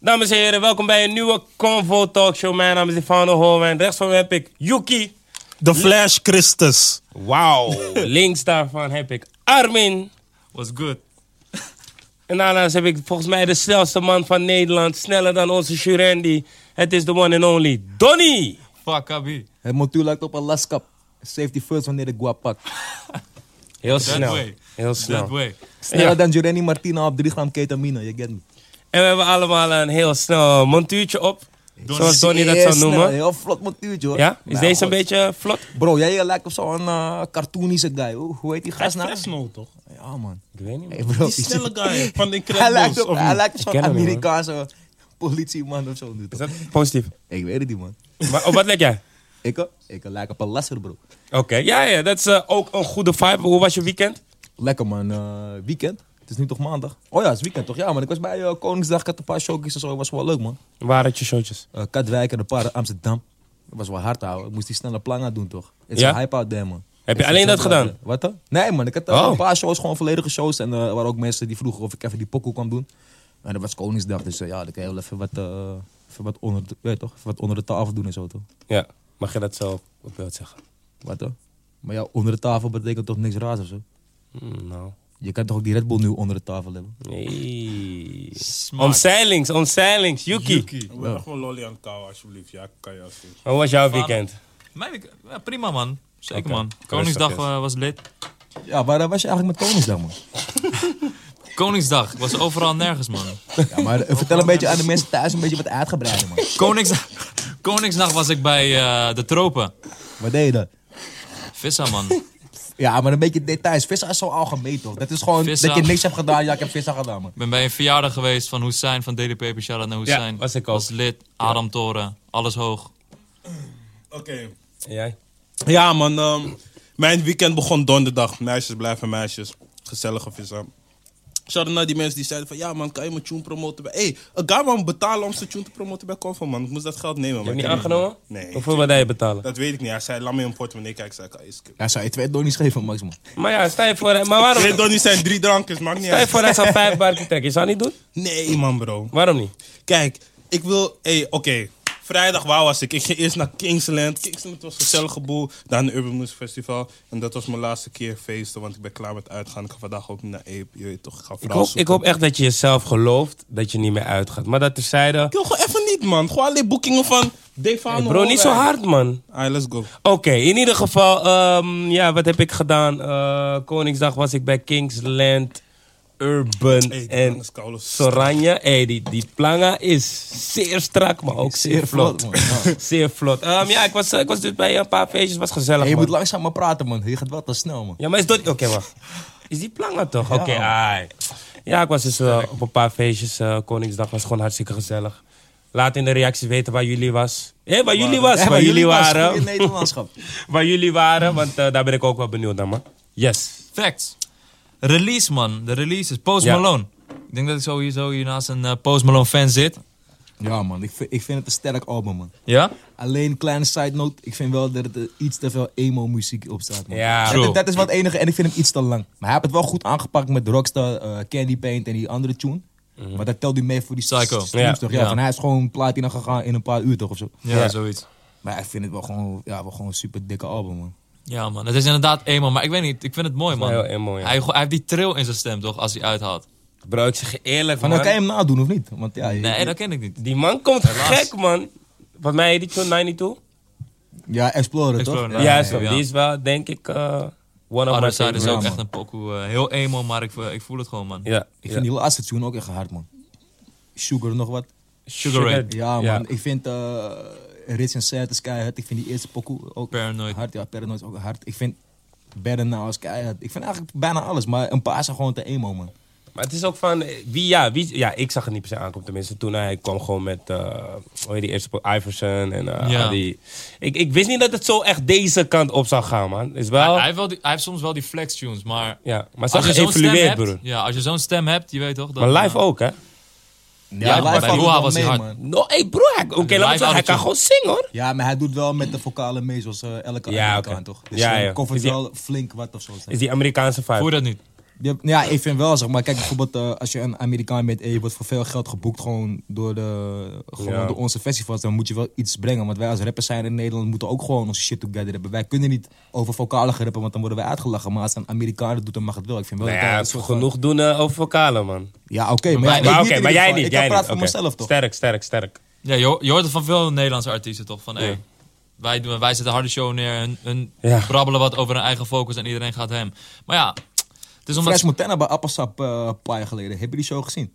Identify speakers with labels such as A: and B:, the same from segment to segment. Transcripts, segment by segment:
A: Dames en heren, welkom bij een nieuwe Convo Talkshow. Mijn naam is Stefano Hoorn. Rechts van me heb ik Yuki.
B: De Flash Christus.
C: Wauw.
A: Links daarvan heb ik Armin.
C: Was good.
A: En daarnaast heb ik volgens mij de snelste man van Nederland. Sneller dan onze Jurendi. Het is de one and only Donny.
C: Fuck, Abi.
D: Het motu lijkt op Alaska. Safety first wanneer de guap pakt.
A: Heel
C: That
A: snel.
C: way.
A: Heel
C: That
A: snel.
C: way.
D: Sneller
A: Ja.
D: dan Joreni Martina op 3 gram ketamine, je get me.
A: En we hebben allemaal een heel snel montuurtje op. Zoals Donny dat
D: Heel
A: zou
D: snel,
A: noemen.
D: Heel vlot montuurtje hoor.
A: Ja? Is
D: Nou,
A: deze een
D: goed.
A: beetje vlot?
D: Bro, jij lijkt op zo'n eh, cartoonische guy. Hoe, hoe heet die gast nou?
C: Snel toch?
D: Ja man.
A: Ik weet niet.
D: Hey, bro,
C: Die snelle guy van de
D: hij lijkt
C: Incredibles.
D: op,
C: of
D: hij
C: niet?
D: lijkt
A: ken
D: op zo'n
A: hem niet, man.
D: Amerikaanse politieman of zo. nu,
A: Is
D: toch?
A: dat positief?
D: Ik weet het niet man.
A: Maar op wat leg jij?
D: Ik, eh, ik lijk op een lasser bro.
A: Oké, ja, ja, dat is eh, ook een goede vibe. Hoe was je weekend?
D: Lekker man, Eh, weekend. Het is nu toch maandag? Oh ja, het is weekend toch? Ja man, ik was bij eh, Koningsdag, ik had een paar showkies en zo. Het was wel leuk man.
A: Waar had je showtjes?
D: Eh, Katwijk en een paar in Amsterdam. Dat was wel hard, houden. Ik moest die snelle planga doen, toch? It's
A: Ja?
D: a hype out there, man.
A: je
D: It's
A: alleen
D: a
A: dat
D: hype out
A: gedaan?
D: there. Wat dan? Nee, man. Ik had eh,
A: Oh.
D: een paar shows, gewoon volledige shows. En eh, er waren ook mensen die vroegen of ik even die pokoe kwam doen. En dat was Koningsdag, dus eh, ja, dan kan je wel even wat, eh, even wat, onder, de, weet je toch? Even wat onder de tafel doen en zo, toch?
A: Ja, mag je dat zo op beeld zeggen?
D: Wat dan? Maar ja, onder de tafel betekent toch niks raars of zo?
A: Hmm, nou,
D: Je kan toch ook die Red Bull nu onder de tafel hebben?
A: nee.
C: Smaak.
A: Omzeilings, omzeilings. Yuki,
C: Yuki.
E: Ik ben gewoon lolly aan het kouwen, alsjeblieft. Ja, kan je alsjeblieft.
A: hoe was jouw weekend?
C: Mijn week- ja, prima man. Zeker
A: Oké.
C: man.
A: Rustig
C: Koningsdag
A: is.
C: eh, was lid.
D: Ja, waar eh, was je eigenlijk met Koningsdag, man?
C: Koningsdag was overal nergens man.
D: Ja, maar eh, vertel een beetje aan de mensen thuis een beetje wat uitgebreider, man.
C: Koningsdag, Koningsdag was ik bij eh, de tropen.
D: Wat deed je dan?
C: Vissa man.
D: Ja, maar een beetje details. Vissen is zo algemeen toch? Dat is gewoon
C: Vissen.
D: dat je niks hebt gedaan. Ja, ik heb vissen gedaan, man.
C: Ik ben bij een verjaardag geweest van Hussein van DDP. Shout out naar Hussein.
A: was ik ook.
C: lid. Adam Toren. Alles hoog.
E: Oké,
A: En jij?
E: ja man. ehm, mijn weekend begon donderdag. Meisjes blijven meisjes. Gezellige vissen. Shout-out naar die mensen die zeiden van... Ja man, kan je mijn tune promoten bij... Hé, hey, een guy wou me betalen om zijn tune te promoten bij Convo, man. Ik moest dat geld nemen, man.
A: Je hebt
E: Ik
A: niet
E: heb
A: aangenomen?
E: Nee.
A: Hoeveel wil jij betalen?
E: Dat weet ik niet. Hij zei, laat me in portemonnee kijken. Ik zei, kan je skippen.
D: Ja, zou je twee donnies geven, Max, man?
A: Maar ja, stel je voor, eh, maar waarom?
E: Ik weet toch niet, zijn drie drankjes. Maakt niet
A: Stel je
E: uit.
A: voor, hij zou vijf bar trekken. Je zou het niet doen?
E: Nee man, bro.
A: Waarom niet?
E: Kijk, ik wil. Hey, oké. Vrijdag, waar was ik? Ik ging eerst naar Kingsland. Kingsland was een gezellige boel. Daarna de Urban Music Festival. En dat was mijn laatste keer feesten, want ik ben klaar met uitgaan. Ik ga vandaag ook niet naar Ape. Je weet toch, ik ga
A: Ik
E: vooral
A: hoop, ik
E: zoeken.
A: hoop echt dat je jezelf gelooft dat je niet meer uitgaat. Maar dat terzijde...
E: Ik wil gewoon even niet, man. Gewoon alleen boekingen van Devano.
A: Hey bro, niet zo hard, man.
E: Alright, let's go.
A: Oké, in ieder geval, ehm, ja, wat heb ik gedaan? Eh, Koningsdag was ik bij Kingsland Urban
E: Hey, die
A: en
E: man is koude.
A: Soranja. Hey, die, die planga is zeer strak, maar ook zeer, vlot. zeer vlot. Ehm, ja, ik was, eh, ik was dus bij een paar feestjes, was gezellig.
D: Hey, je
A: man.
D: moet langzaam maar praten, man. Je gaat wel te snel, man.
A: Ja, maar is dat... Oké, wacht. Is die planga toch? Oké, ai. Ja, ik was dus eh, op een paar feestjes. eh, Koningsdag was gewoon hartstikke gezellig. Laat in de reacties weten waar jullie was. Hé, waar jullie was,
D: Hey,
A: waar
D: maar
A: jullie
D: was
A: waren
D: goeie Nederlandschap.
A: waar jullie waren, want eh, daar ben ik ook wel benieuwd naar, man. Yes.
C: Facts. Release man. De release is Post
A: Ja.
C: Malone. Ik denk dat ik zo hier, zo hier naast een eh, Post Malone fan zit.
D: ja, man. Ik vind, ik vind het een sterk album, man.
C: Ja?
D: Alleen, kleine side note. Ik vind wel dat er iets te veel emo-muziek op staat, man.
A: Ja.
C: True.
D: Dat, dat is wel het enige. En ik vind hem iets te lang. Maar hij heeft het wel goed aangepakt met Rockstar, eh, Candy Paint en die andere tune. Maar dat telt u mee voor die
C: Psycho.
D: streams,
A: Ja.
D: toch? Ja,
C: Ja.
D: Van hij is gewoon platina gegaan in een paar uur, toch? Of zo.
C: Ja,
A: Ja.
C: zoiets.
D: Maar ik vind het wel gewoon, ja, wel gewoon een super dikke album, man.
C: Ja man. Het is inderdaad emo. Maar ik weet niet. Ik vind het mooi man.
A: wel heel emo, ja.
C: hij, hij heeft die trill in zijn stem toch? Als hij uithaalt.
A: Bro, ik zeg je eerlijk,
D: Maar
A: man.
D: dan nou, kan je hem nadoen, of niet? Want ja, je-
C: Nee, dat ken ik niet.
A: Die man komt gek, man. Wat mij heet die toen, 92?
D: ja Explorer,
C: Explorer,
D: toch?
A: Ja,
C: Ja, ja,
A: zo.
C: ja.
A: Die is wel, denk ik, eh one of my
C: Other Side
A: favorites.
C: is ook
D: man.
C: echt een pokoe. eh, heel emo, maar ik, eh, ik voel het gewoon man.
A: Ja.
D: Ik vind die laatste tune ook echt hard, man. Sugar nog wat.
C: Sugar Ray.
D: Ja, man. Ik vind eh Rich and Sad is keihard. Ik vind die eerste pokoe ook
C: Paranoid.
D: hard. Ja, Paranoid is ook hard. Ik vind Better Now is keihard. Ik vind eigenlijk bijna alles, maar een paar zijn gewoon te emo, man.
A: Maar het is ook van, eh, wie, ja, wie, ja, ik zag het niet per se aankomen. Tenminste, toen hij kwam gewoon met, eh hoe heet die eerste, po- Iverson en eh,
C: Ja.
A: al die. Ik, ik wist niet dat het zo echt deze kant op zou gaan, man. Is
C: Hij,
A: wel,
C: hij heeft wel die- hij heeft soms wel die flex tunes, maar...
A: ja, maar ze
C: Als je zo'n stem
A: geëvolueerd,
C: hebt,
A: broer.
C: ja, als je zo'n stem hebt, je weet toch? Dan,
A: Maar live
C: eh,
A: ook, hè?
C: Ja, maar bij
D: valt
C: Roa
D: wel
C: was hij
D: mee,
C: hard.
D: man.
A: No, hey broer, hij- oké, laat me zeggen,
C: Live
A: hij kan
C: autotune.
A: gewoon zingen, hoor.
D: Ja, maar hij doet wel met de vocalen mee, zoals eh, elke
A: Ja,
D: ja,
A: oké.
D: toch? Dus
A: Ja,
D: hij
A: ja.
D: covert
A: Is die-
D: wel flink wat of zo.
A: Is die Amerikaanse vibe.
C: Voel je dat niet?
D: Die heb- ja, ik vind wel, zeg maar. Kijk, bijvoorbeeld eh, als je een Amerikaan bent en je wordt voor veel geld geboekt gewoon door, de, gewoon
A: Ja.
D: door onze festivals, dan moet je wel iets brengen. Want wij als rappers zijn in Nederland moeten ook gewoon onze shit together hebben. Wij kunnen niet over vocalen gaan rappen, want dan worden wij uitgelachen. Maar als een Amerikaan dat doet, dan mag het wel. Ik vind wel
A: Nou
D: dat daar
A: ja,
D: een soort van-
A: genoeg doen eh, over vocalen, man.
D: Ja, oké, maar, ja, ik
A: maar
D: niet
A: oké,
D: in
A: maar
D: ieder
A: jij
D: geval.
A: niet.
D: Ik
A: jij
D: kan praten
A: niet,
D: voor
A: oké.
D: mezelf toch?
A: Sterk, sterk, sterk.
C: Ja, je, ho- je hoort het van veel Nederlandse artiesten toch? Van, hey,
A: Ja.
C: wij, doen, wij zetten harde show neer. Hun, hun
A: Ja.
C: brabbelen wat over hun eigen focus en iedereen gaat hem. Maar ja, het is
D: Fresh
C: omdat...
D: Montana bij Appelsap eh, een paar jaar geleden. Heb je die show gezien?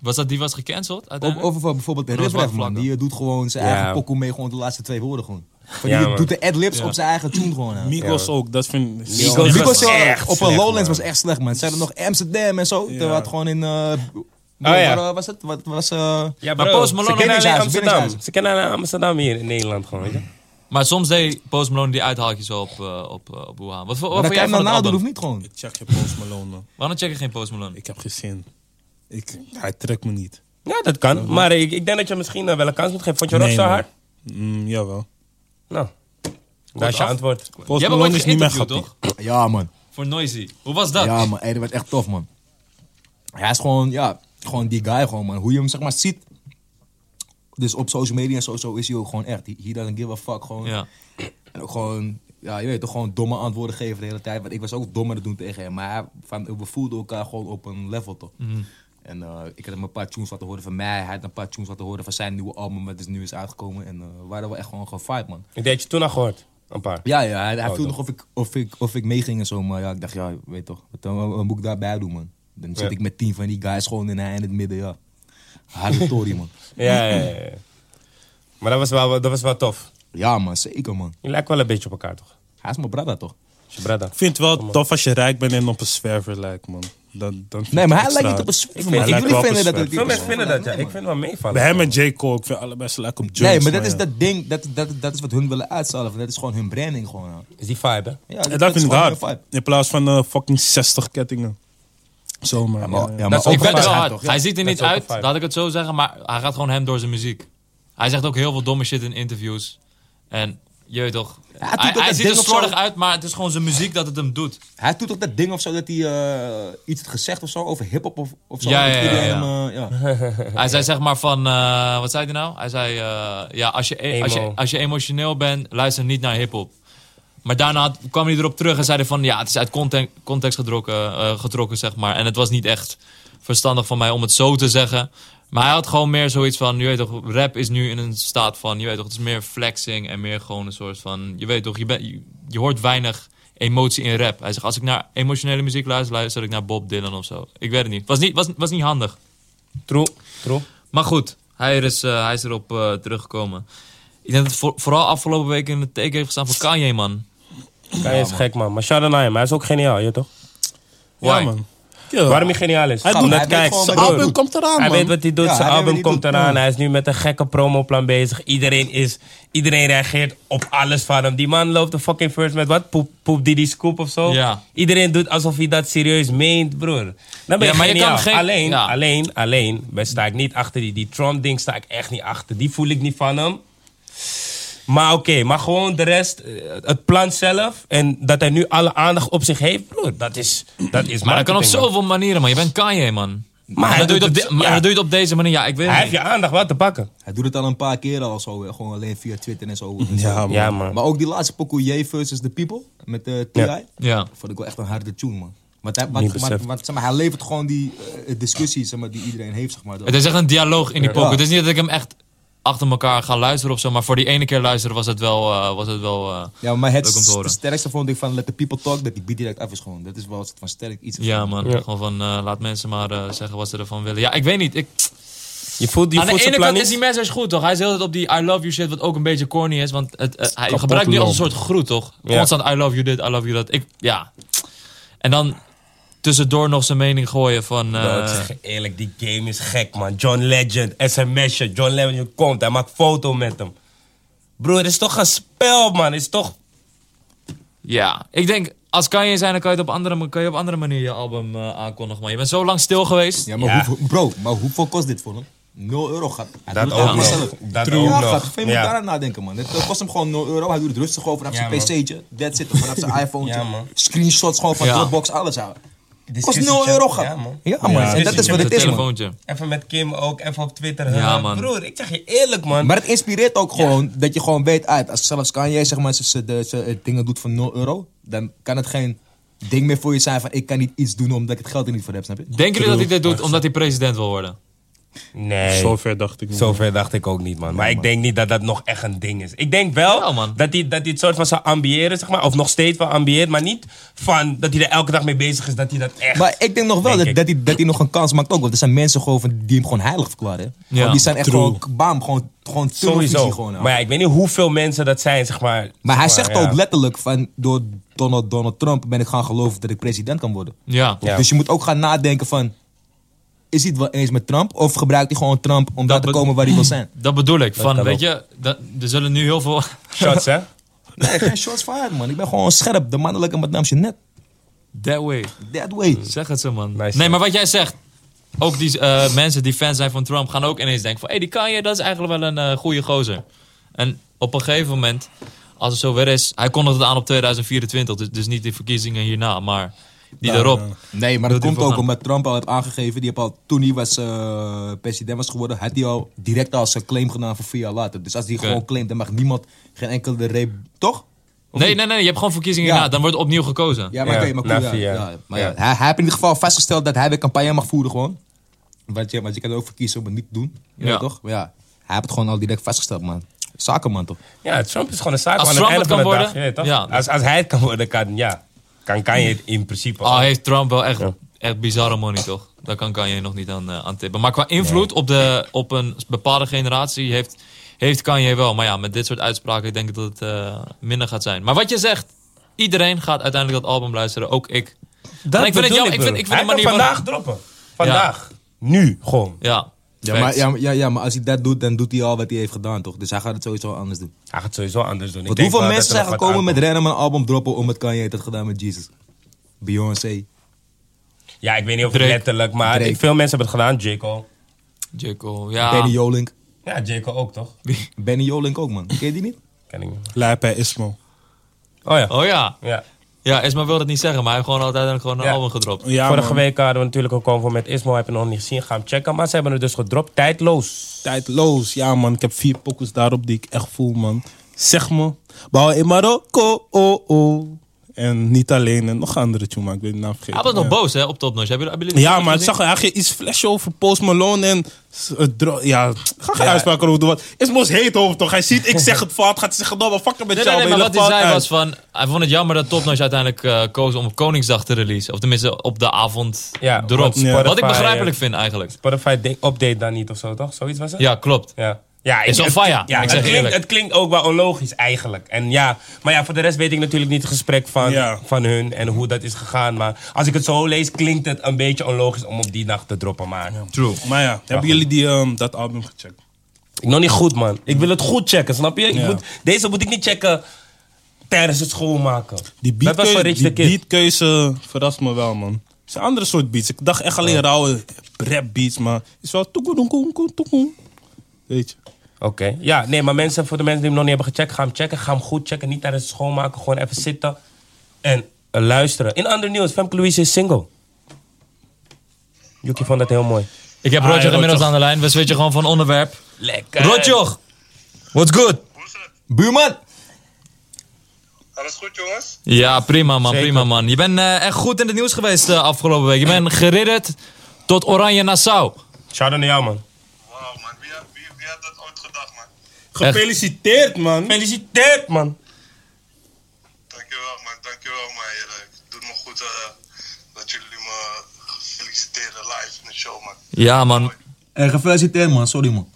C: Was dat die was gecanceld
D: Over,
C: uiteindelijk?
D: over bijvoorbeeld
C: Dat was
D: Riff Raff, man.
C: vlakken.
D: Die eh, doet gewoon zijn
A: Ja.
D: eigen pokoe mee, gewoon de laatste twee woorden gewoon. Van
A: Ja,
D: die
A: man.
D: doet de ad-libs op zijn eigen tune gewoon. hè.
E: Migos ook, dat vind ik...
A: Migos-
E: Slecht.
A: Migos-
D: Migos
A: was
D: eh,
A: echt
D: op een
A: slecht,
D: Lowlands
A: man. Oh,
D: was echt slecht, man. Zijn er nog Amsterdam en zo?
E: Ja.
D: Terwijl het gewoon in... eh
A: ja.
D: waar, eh, was het? Wat was... eh,
A: Ja,
C: Maar
A: bro,
C: Post
A: ze
C: Malone
A: kennen
D: ook-
A: alleen
D: binnenshuis,
A: Amsterdam.
D: binnenshuis.
A: Ze kennen alleen Amsterdam hier in Nederland gewoon, weet je.
C: Maar soms deed Post Malone die uithaaltjes wel op, eh, op, eh, op Wuhan. Wat, voor- wat
D: maar dan kan
C: vond jij
D: je
C: van
D: hem
C: het
D: nadoen of
C: album?
D: niet gewoon.
E: Ik check je Post Malone, man.
C: Waarom check je geen Post Malone?
E: Ik heb geen zin. Ik, hij trekt me niet.
A: Ja, dat kan. Maar ik, ik denk dat je misschien eh, wel een kans moet geven. Vond je rock zo
E: man.
A: hard?
E: Mm, jawel.
A: Nou, dat is je
C: af.
A: antwoord.
E: Post
C: Jij bent
E: Malone
C: ooit
E: is niet meer
C: geïnterviewd,
E: grappig.
C: toch?
D: Ja, man.
C: Voor Noisy. Hoe was dat?
D: Ja, man. Hey, dat werd echt tof, man. Hij is gewoon, ja, gewoon die guy gewoon, man. Hoe je hem, zeg maar, ziet. Dus op social media en zo, zo is hij ook gewoon echt. He, he doesn't give a fuck, gewoon.
C: Ja.
D: En ook gewoon, ja, je weet toch, gewoon domme antwoorden geven de hele tijd. Want ik was ook dommer te doen tegen hem. Maar hij- van, we voelden elkaar gewoon op een level, toch?
E: Mhm.
D: En eh, ik had hem een paar tunes laten horen van mij. Hij had een paar tunes laten horen van zijn nieuwe album, wat dus nu is uitgekomen. En eh, we waren wel echt gewoon gevibe, man.
A: Ik deed je toen al gehoord. Een paar.
D: Ja, ja, hij,
E: Oh,
D: hij viel nog of ik, of, ik, of ik meeging en zo. Maar ja, ik dacht, ja, weet toch, wat, eh, wat moet ik daarbij doen, man? Dan zit
A: Ja.
D: ik met tien van die guys gewoon in, in het midden, ja. Harde tory, man.
A: Ja, ja, ja. ja. Maar dat was, wel, dat was wel tof.
D: Ja, man, zeker, man.
A: Je lijkt wel een beetje op elkaar, toch?
D: Hij is mijn brother, toch?
A: Is je brother.
E: Ik vind het wel tof als je rijk bent en op een zwerver lijkt, man. Dan, dan vind
D: Nee,
E: ik
D: maar
E: het
D: hij lijkt niet
E: extra.
D: op een swing,
E: vind-
D: man. Ik
E: hij
D: wil niet
E: lijkt wel
D: vinden dat
E: op
D: het...
E: een
A: Veel mensen vinden dat, ja. Ik vind het wel
E: Bij
A: meevallen.
E: hem en J. Cole, ik vind allebei ze lijken op Jones.
D: Nee, maar dat is dat ding, dat, dat, dat is wat hun willen uitzalven. Dat is gewoon hun branding gewoon. hè.
A: Is die vibe, hè?
D: Ja,
E: En
D: is
E: dat vind ik
D: gewoon
E: hard.
D: hun vibe.
E: In plaats van eh, fucking 60 kettingen. Zo, man.
D: Ja, maar,
E: Ja, ja.
D: ja,
C: Dat
D: maar
C: is
D: ook
C: ik ben
D: van-
C: het wel
A: vibe,
C: hard.
A: toch? Ja,
C: Hij ziet er
A: dat
C: niet
A: is ook een
C: uit,
A: vibe.
C: laat ik het zo zeggen, maar hij gaat gewoon hem door zijn muziek. Hij zegt ook heel veel domme shit in interviews. En je weet toch,
D: doet
C: hij,
D: ook dat
C: hij ziet
D: ding
C: er
D: op
C: slordig
D: zo-
C: uit, maar het is gewoon zijn muziek dat het hem doet.
D: Hij doet toch dat ding of zo dat hij eh, iets had gezegd of zo over hip-hop of, of zo.
C: Ja,
D: Dat
C: ja,
D: iedereen
C: ja,
D: hem, eh, ja.
C: Hij zei zeg maar van, eh, wat zei hij nou? Hij zei, eh, ja, als je, e- als, je,
A: Emo.
C: als je emotioneel bent, luister niet naar hiphop. Maar daarna had- kwam hij erop terug en zei hij van, ja, het is uit context, context gedrokken, eh, getrokken, zeg maar. En het was niet echt verstandig van mij om het zo te zeggen. Maar hij had gewoon meer zoiets van, je weet toch, rap is nu in een staat van, je weet toch, het is meer flexing en meer gewoon een soort van, je weet toch, je, bent je, je hoort weinig emotie in rap. Hij zegt, als ik naar emotionele muziek luister, luister ik naar Bob Dylan of zo. Ik weet het niet. Was niet, was, was niet handig.
A: True, true.
C: Maar goed, hij is, eh, hij is erop eh, teruggekomen. Ik denk dat het voor- vooral afgelopen week in het teken heeft gestaan voor Kanye, man.
A: Kanye is gek, man. Maar shout out naar hem. Hij is ook geniaal, je weet toch?
C: Why?
E: man. Ja.
A: Waarom hij geniaal is?
E: Hij
D: Gauw,
E: doet
D: hij
E: het,
D: weet
E: kijk.
D: gewoon
E: Zijn
D: wat hij
E: album
D: doet.
E: komt eraan,
A: Hij
E: man.
A: weet wat hij doet,
D: Ja,
A: zijn
D: hij weet
A: album
D: wat hij
A: komt
D: doet,
A: eraan.
D: ja.
A: Hij is nu met een gekke promoplan bezig. Iedereen, is, iedereen reageert op alles van hem. Die man loopt de fucking first met wat? Poep, poep die die scoop of zo?
C: Ja.
A: Iedereen doet alsof hij dat serieus meent, broer. Dan ben
C: Ja,
A: je
C: maar je
A: geniaal.
C: kan geen-
A: alleen,
C: ja.
A: alleen, alleen, ben- sta ik niet achter die. Die Trump-ding sta ik echt niet achter. Die voel ik niet van hem. Maar oké, maar gewoon de rest, eh, het plan zelf en dat hij nu alle aandacht op zich heeft, broer, dat is dat is
C: Maar dat kan op
A: marketing, man.
C: zoveel manieren, man. Je bent Kanye, man.
A: Maar
C: Maar,
A: hij
C: dan, doe je
A: doet
C: het op
A: het-
C: de- maar
A: ja.
C: dan doe je het op deze manier. Ja, ik weet
A: Hij
C: het
A: heeft
C: niet.
A: je aandacht wel te pakken.
D: Hij doet het al een paar keer al zo, eh, gewoon alleen via Twitter en zo.
E: Ja, man.
A: Ja, man.
D: Maar ook die laatste pokoe J versus The People met eh, T.I.
A: Ja.
C: Ja.
D: Vond ik wel echt een harde tune, man. Want hij, wat,
A: Niet
D: maar,
A: beseft.
D: maar, zeg maar, hij levert gewoon die eh, discussie zeg maar, die iedereen heeft, zeg maar.
C: Het is echt een dialoog in die poker. Het is niet dat ik hem echt achter elkaar ga luisteren of zo. Maar voor die ene keer luisteren was het wel... eh, was het wel eh,
D: Ja, maar het,
C: Leuk om te horen.
D: het sterkste vond ik van Let the People Talk, dat die beat direct af is gewoon. Dat is wel een soort van sterk iets.
C: ja, man.
A: Ja.
C: Gewoon van, eh, laat mensen maar eh, zeggen wat ze ervan willen. Ja, ik weet niet. Ik,
A: Je voelt, je
C: Aan de
A: voelt zijn plan
C: ene kant
A: niet.
C: is die message goed, toch? Hij is heel de tijd op die I love you shit, wat ook een beetje corny is. Want het, eh, hij gebruikt nu als een soort groet, toch?
A: Ja.
C: Constant I love you dit, I love you dat. Ik, ja. En dan tussendoor nog zijn mening gooien van... eh,
A: Bro, ik zeg je eerlijk, die game is gek, man. John Legend, sms'je. John Legend komt, hij maakt foto met hem. Broer, het is toch een spel, man. Het is toch...
C: ja, ik denk, als kan je zijn, dan kan je, het op andere, kan je op andere manier je album eh, aankondigen. Maar je bent zo lang stil geweest.
D: Ja, maar
A: Ja.
D: Hoeveel, bro, maar hoeveel kost dit voor hem? 0 euro gaat. Hij doet het
A: ook
D: allemaal
A: nog.
D: zelf.
A: Dat
D: ja,
A: ook
D: gaat.
A: nog.
D: Veel meer
A: Ja.
D: daaraan nadenken, man. Het eh, kost hem gewoon 0 euro. Hij doet het rustig over op
A: Ja,
D: zijn
A: man.
D: pc'tje. That's it. Vanaf zijn iPhone.
A: Ja, man.
D: Screenshots gewoon van
C: Ja.
D: Dropbox, alles. houden. Kost
A: discussie
D: 0
A: chat.
D: euro, gaat.
A: Ja, man.
D: Ja, man.
F: Ja,
D: en dat
A: dus
D: is
A: je
D: wat
C: Een
D: het is, man.
C: telefoontje.
A: Even met Kim ook, even op Twitter.
C: Ja,
A: huh?
C: man.
A: Broer, ik zeg je eerlijk, man.
D: Maar het inspireert ook gewoon dat je gewoon weet, uit, als zelfs kan jij zeg maar, ze, ze, de- ze, eh, dingen doet van 0 euro, dan kan het geen ding meer voor je zijn van ik kan niet iets doen omdat ik het geld er niet voor heb, snap je?
C: Denken jullie dat hij dit doet omdat hij president wil worden?
A: nee.
E: Zover dacht ik niet.
A: Zover dacht ik ook niet, man. Maar ik denk niet dat dat nog echt een ding is. Ik denk wel
C: Jawel, man.
A: dat hij dat hij het soort van zou ambiëren, zeg maar. Of nog steeds wel ambieert. Maar niet van dat hij er elke dag mee bezig is, dat hij dat echt...
D: Maar ik denk nog wel
A: Denk
D: dat,
A: ik.
D: dat, hij, dat hij nog een kans maakt ook. Want er zijn mensen gewoon van, die hem gewoon heilig verklaren. hè.
C: Ja.
D: Want die zijn echt
F: True.
D: gewoon, k- bam, gewoon, gewoon televisie
A: Sowieso.
D: Gewoon, ja.
A: maar
D: maar,
A: ja, ik weet niet hoeveel mensen dat zijn, zeg maar. zeg
D: hij zegt
A: ja.
D: ook letterlijk van, door Donald, Donald Trump ben ik gaan geloven dat ik president kan worden.
C: Ja.
A: Ja.
D: Dus je moet ook gaan nadenken van, is hij het wel eens met Trump? Of gebruikt hij gewoon Trump om daar te
C: be-
D: komen waar hij wil zijn?
C: Dat bedoel ik. Van,
A: kan
C: weet
A: ook.
C: je, dat, er zullen nu heel veel...
A: Shots, hè?
D: Nee, geen shots fired man. Ik ben gewoon scherp. De mannelijke Madame net.
C: That way.
D: That way.
C: Zeg het zo, man.
A: Nice.
C: nee, maar wat jij zegt. Ook die eh, mensen die fan zijn van Trump gaan ook ineens denken van... Hé, hey, die Kanye, dat is eigenlijk wel een eh goede gozer. En op een gegeven moment, als het zover is... Hij kondigde het aan op 2024, dus, dus niet de verkiezingen hierna, maar die
D: Nou,
C: daarop.
D: Nee, maar
C: Wil
D: dat komt
C: die
D: ook
C: voorgaan?
D: omdat Trump al heeft aangegeven. Die heeft al, toen hij was, eh, president was geworden, had hij al direct al zijn claim gedaan voor vier jaar later. Dus als hij
C: Oké.
D: gewoon claimt, dan mag niemand geen enkele rep... Toch?
C: Nee, nee, nee, je hebt gewoon verkiezingen
D: Ja.
C: hierna. Dan wordt opnieuw gekozen.
D: Ja, maar
A: Ja,
D: oké, maar cool,
A: na
D: ja,
A: vier jaar.
D: ja. maar ja,
A: Ja.
D: Hij, hij heeft in ieder geval vastgesteld dat hij weer campagne mag voeren gewoon. Want je, want je kan er ook voor kiezen om het niet te doen. Je
C: Ja.
D: weet toch? Maar ja, hij heeft het gewoon al direct vastgesteld, man. Zakenman toch?
A: Ja, Trump is gewoon een zaak.
C: Als
A: aan het
C: Trump
A: einde
C: het
A: van
C: kan
A: de
C: worden,
A: dag, je weet toch?
C: ja.
A: Als, als hij het kan worden, kan, ja, kan, kan je het in principe
C: Al
A: ook.
C: Ah, heeft Trump wel echt, echt bizarre money, toch? Daar kan Kanye nog niet aan, eh, aan tippen. Maar qua invloed op, de, op een bepaalde generatie heeft, heeft Kanye wel. Maar ja, met dit soort uitspraken denk ik dat het eh, minder gaat zijn. Maar wat je zegt, iedereen gaat uiteindelijk dat album luisteren. Ook ik.
A: Dat
C: En ik vind het
A: bedoel
C: jammer, ik vind-
A: broer.
C: ik vind
A: Hij
C: de manier
A: kan
C: waarop-
A: vandaag droppen. Vandaag. Nu, gewoon.
C: Ja,
D: Ja
C: facts.
D: maar, ja, ja, ja, maar als hij dat doet, dan doet hij al wat hij heeft gedaan, toch? Dus hij gaat het sowieso anders doen.
A: Hij gaat sowieso anders doen. Ik
D: Want
A: denk
D: hoeveel
A: wel
D: mensen
A: dat er
D: zijn
A: nog wat
D: gekomen met
A: aankomt.
D: Random een album droppen om het Kanye heeft het gedaan met Jesus? Beyoncé.
A: Ja, ik weet niet of het
C: Drake.
A: letterlijk, maar
D: Drake.
A: ik- veel mensen hebben het gedaan. J. Cole.
C: J. Cole, ja.
D: Benny Jolink.
A: Ja, J. Cole ook, toch?
D: Benny Jolink ook, man. Ken je die niet?
A: Ken ik niet.
E: Lijp bij Ismo.
A: Oh ja.
C: Oh ja.
A: ja.
C: Ja, Esma wil dat niet zeggen, maar hij heeft gewoon altijd gewoon een
A: Ja.
C: album gedropt.
E: Ja,
A: Vorige
E: man.
A: week hadden we natuurlijk ook over met Ismo. Heb je nog niet gezien? Ga hem checken. Maar ze hebben het dus gedropt. Tijdloos.
E: Tijdloos. Ja, man. Ik heb vier pokus daarop die ik echt voel, man. Zeg me. Bouw in Marokko. Oh, oh. En niet alleen. En nog een andere tune, maar ik weet de naam vergeten.
C: Hij was nog
E: Ja.
C: boos, hè, op Top Notch. Hebben jullie- hebben jullie
E: Ja,
C: dat
E: maar het
C: gezien?
E: zag er eigenlijk iets flash over Post Malone en... s- eh, dro- Ja, ga geen uitspraken over doen. want Ismo's heet over toch? Hij ziet, ik zeg het fout. Gaat zeggen, nou, maar fuck it met
C: Nee, nee,
E: jou.
C: nee, maar
E: hele
C: wat hij
E: fout
C: zei
E: uit.
C: was van... Hij vond het jammer dat Top Notch uiteindelijk eh, koos om op Koningsdag te releasen. Of tenminste, op de avond
A: Ja,
C: erop.
A: op Spotify,
C: Wat ik begrijpelijk
A: ja.
C: vind eigenlijk.
A: Spotify de- update dan niet of zo, toch? Zoiets was het?
C: Ja, klopt.
A: Ja. Ja,
C: Is
A: ik-
C: wel fire,
A: Ja,
C: ik
A: het,
C: zeg
A: klinkt,
C: eerlijk.
A: het klinkt ook wel onlogisch eigenlijk. En ja, maar ja, voor de rest weet ik natuurlijk niet het gesprek van,
E: Ja.
A: van hun en hoe dat is gegaan. Maar als ik het zo lees, klinkt het een beetje onlogisch om op die nacht te droppen. Maar
C: True.
E: Maar ja, hebben jullie die, ehm, dat album gecheckt?
A: ik nog niet goed, man. Ik wil het goed checken, snap je? Ik
E: Ja.
A: moet, deze moet ik niet checken tijdens het schoonmaken.
E: Die
A: dat was van
E: beatkeuze,
A: Rich the
E: die
A: Kid.
E: beatkeuze verrast me wel, man. Het is een andere soort beats. Ik dacht echt alleen rauwe rap beats, maar het is wel toekoedoenkoenkoen, toekoen. Weet je.
A: Oké. Ja, nee, maar mensen, voor de mensen die hem nog niet hebben gecheckt, ga hem checken. Ga hem goed checken. Niet tijdens het schoonmaken. Gewoon even zitten en eh, luisteren. In ander nieuws, Femke Louise is single. Yuki vond dat heel mooi.
C: Ik heb
A: Ah,
C: Roger
A: ja,
C: inmiddels
A: Rotjoch.
C: aan de lijn. We switchen gewoon van onderwerp.
A: Lekker.
C: Rotjoch! What's good?
D: Buurman!
G: Alles goed, jongens?
C: Ja, prima man,
A: Zeker.
C: prima man. Je bent eh, echt goed in het nieuws geweest de afgelopen week. Je bent geridderd tot Oranje Nassau.
A: Shout out naar jou, man.
G: Wauw, man. Wie, had- wie, wie had dat ooit gedacht, man?
E: Gefeliciteerd, man.
A: Gefeliciteerd, man.
G: Dankjewel, man. Dankjewel, man. Jullie- Het doet me goed eh, dat jullie me feliciteren live in de show, man.
C: Ja man,
D: Hey, Eh, gefeliciteerd, man. Sorry, man.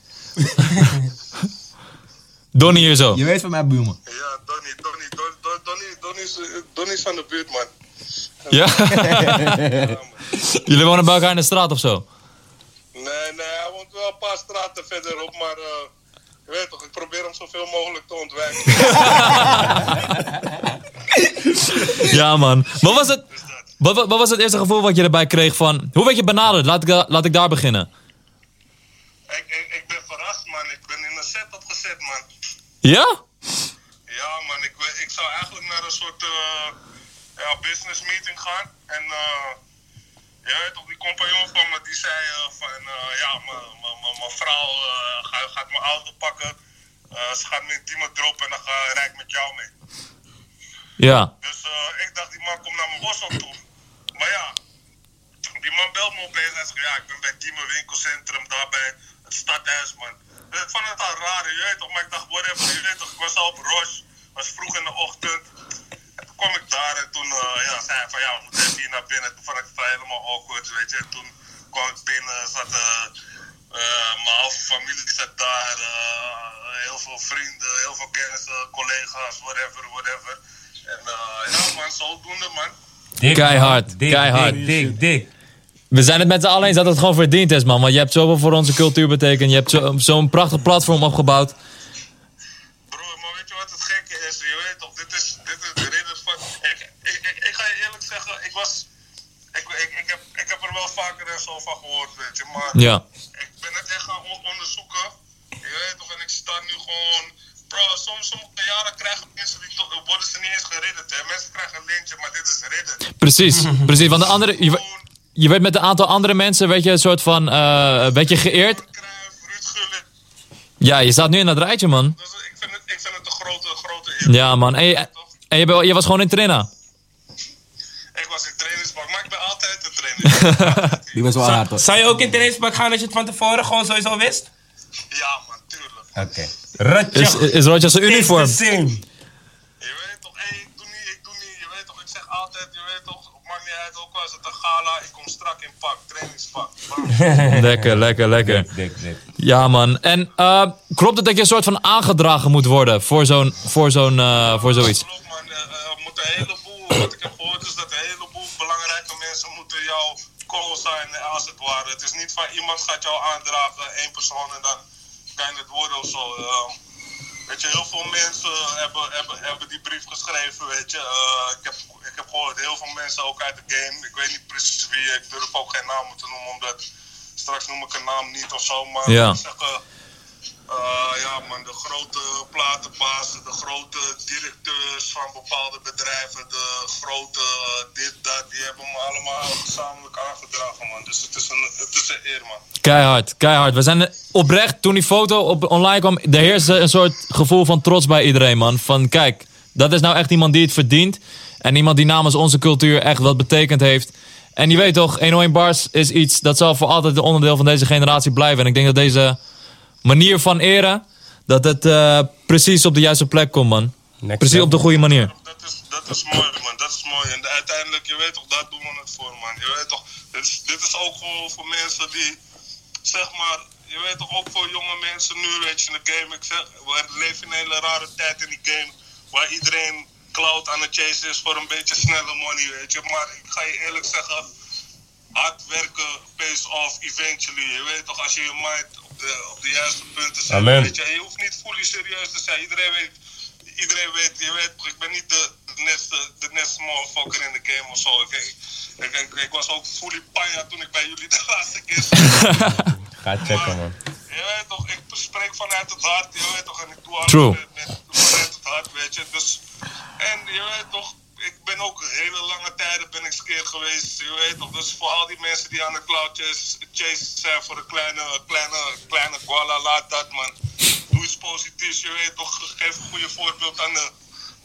C: Donnie hier zo.
D: Je weet van mij, buurman.
G: Ja, Donnie, Donnie, Don- Don- Donnie, Donnie, is, eh, Donnie is van de buurt, man.
C: Ja.
G: Ja, man.
C: Jullie wonen bij elkaar in de straat of zo?
G: Nee, nee, hij woont wel een paar straten verderop, maar eh, je weet toch, ik probeer hem zoveel mogelijk te ontwijken.
C: Ja, man. Wat was, het, wat, wat, wat was het eerste gevoel wat je erbij kreeg van... Hoe werd je benaderd? Laat ik, da- laat ik daar beginnen.
G: ik, ik, ik ben verrast, man. Ik ben in een setup gezet, man.
C: Ja?
G: Ja, man, ik, we- ik zou eigenlijk naar een soort eh, ja, business meeting gaan. En eh, Ja, weet toch, die compagnon van me die zei eh, van eh, ja, mijn- mijn- mijn- mijn vrouw eh, ga- gaat mijn auto pakken. Eh, ze gaat me die me droppen en dan ga rijd ik met jou mee.
C: Ja.
G: Dus eh, ik dacht, die man komt naar mijn bos op toe. Maar ja, die man belt me opeens en hij zegt, ja, ik ben bij Diemen winkelcentrum, daar bij het stadhuis, man. Dus ik vond het al raar, je weet toch, maar ik dacht, whatever, je weet toch, ik was al op rush, was vroeg in de ochtend. En toen kwam ik daar en toen eh, ja, zei hij van, ja, we moeten even hier naar binnen. Toen vond ik het helemaal awkward, weet je. En toen kwam ik binnen, zat eh, eh, mijn halve familie zat daar, eh, heel veel vrienden, heel veel kennissen, collega's, whatever, whatever. En eh, ja man, zodoende man.
A: Dik,
C: Keihard,
A: man. Dik,
C: keihard.
A: Dik, dik, dik.
C: We zijn het met z'n allen eens dat het gewoon verdiend is, man. Want je hebt zoveel voor onze cultuur betekend. Je hebt zo- zo'n prachtig platform opgebouwd.
G: Broer, maar weet je wat het gekke is? Je weet toch, dit is, dit is de reden van... Ik, ik, ik, ik ga je eerlijk zeggen, ik was... Ik, ik, ik, heb, ik heb er wel vaker en zo van gehoord, weet je. Maar
C: Ja.
G: ik ben het echt gaan on- onderzoeken. Je weet toch, en ik sta nu gewoon... Bro, soms, sommige jaren krijgen mensen, die, do- worden ze niet eens geridderd. Hè? Mensen krijgen een lintje, maar dit is ridden.
C: Precies, precies. Want de andere, je, we-
G: Gewoon
C: je werd met een aantal andere mensen, werd je een soort van, eh werd je geëerd.
G: Cruijff, Ruud Gullit.
C: Ja, je staat nu in dat rijtje, man.
G: Dus ik vind het, ik vind het een grote, grote eer.
C: Ja, man. En je,
G: Toch?
C: en je, bent- je was gewoon in Trina.
G: Ik was in trainingspak, maar ik ben altijd een trainer.
H: Die was wel hard hoor.
A: Zou je ook in trainingspak gaan als je het van tevoren gewoon sowieso wist?
G: ja man, tuurlijk.
A: Oké. Ratje.
C: Is, is Roger zijn uniform.
A: Is the same.
G: Je weet toch, hey, ik doe niet, ik doe niet. Je weet toch, ik zeg altijd, je weet toch, het maakt niet uit, ook al is het een gala, ik kom strak in pak, trainingspak. Bam.
C: Lekker, lekker, lekker.
A: Dik, dik, dik.
C: Ja, man. En eh, klopt het dat je een soort van aangedragen moet worden voor zo'n, voor zo'n, eh, voor zoiets?
G: Klopt man, Eh, eh, moet een heleboel, wat ik heb gehoord is dat een heleboel belangrijke mensen moeten jou co-signen eh, als het ware. Het is niet van iemand gaat jou aandragen, één persoon en dan kan je het worden of zo. Eh, weet je, heel veel mensen hebben, hebben, hebben die brief geschreven, weet je. Eh, ik, heb, ik heb gehoord heel veel mensen ook uit de game. Ik weet niet precies wie, ik durf ook geen naam te noemen, omdat straks noem ik een naam niet of zo. Maar
C: Ja.
G: ik zeg, eh, eh, ja man, de grote platenbazen, de grote directeurs van bepaalde bedrijven, de grote eh, dit, dat, die hebben me allemaal gezamenlijk aangedragen man. Dus het is een, het is een eer man.
C: Keihard, keihard. We zijn oprecht, toen die foto op, online kwam, er heerste een soort gevoel van trots bij iedereen, man. Van kijk, dat is nou echt iemand die het verdient. En iemand die namens onze cultuur echt wat betekend heeft. En je weet toch, 101 Bars is iets dat zal voor altijd een onderdeel van deze generatie blijven. En ik denk dat deze manier van eren, dat het eh, precies op de juiste plek komt, man.
A: Next
C: precies
A: level.
C: op de goede manier.
G: Dat is, dat is mooi, man. Dat is mooi. En uiteindelijk, je weet toch, daar doen we het voor, man. Je weet toch, dit is, dit is ook gewoon voor mensen die, zeg maar, je weet toch, ook voor jonge mensen nu, weet je, in de game. Ik zeg, we leven in een hele rare tijd in die game waar iedereen cloud aan het chasen is voor een beetje snelle money, weet je. Maar ik ga je eerlijk zeggen, hard werken pays off eventually. Je weet toch, als je je mind op de, op de juiste punten zet.
A: Amen.
G: Weet je, en je hoeft niet fully serieus te zijn. Iedereen weet, iedereen weet, je weet, toch, ik ben niet de, de netste, de netste motherfucker in de game of zo. Ik, ik, ik, ik- ik was ook fully panja toen ik bij jullie de laatste keer zat.
A: Ga checken, man.
G: Je weet toch, ik spreek vanuit het hart, je weet toch, en ik doe alles
C: True.
G: met- met- vanuit het hart, weet je. Dus, en je weet toch, ik ben ook hele lange tijden ben ik skeer geweest, je weet toch. Dus voor al die mensen die aan de cloud chase, chase zijn voor een kleine, kleine, kleine koala, laat dat man. Doe iets positiefs, je weet toch, geef een goede voorbeeld aan de,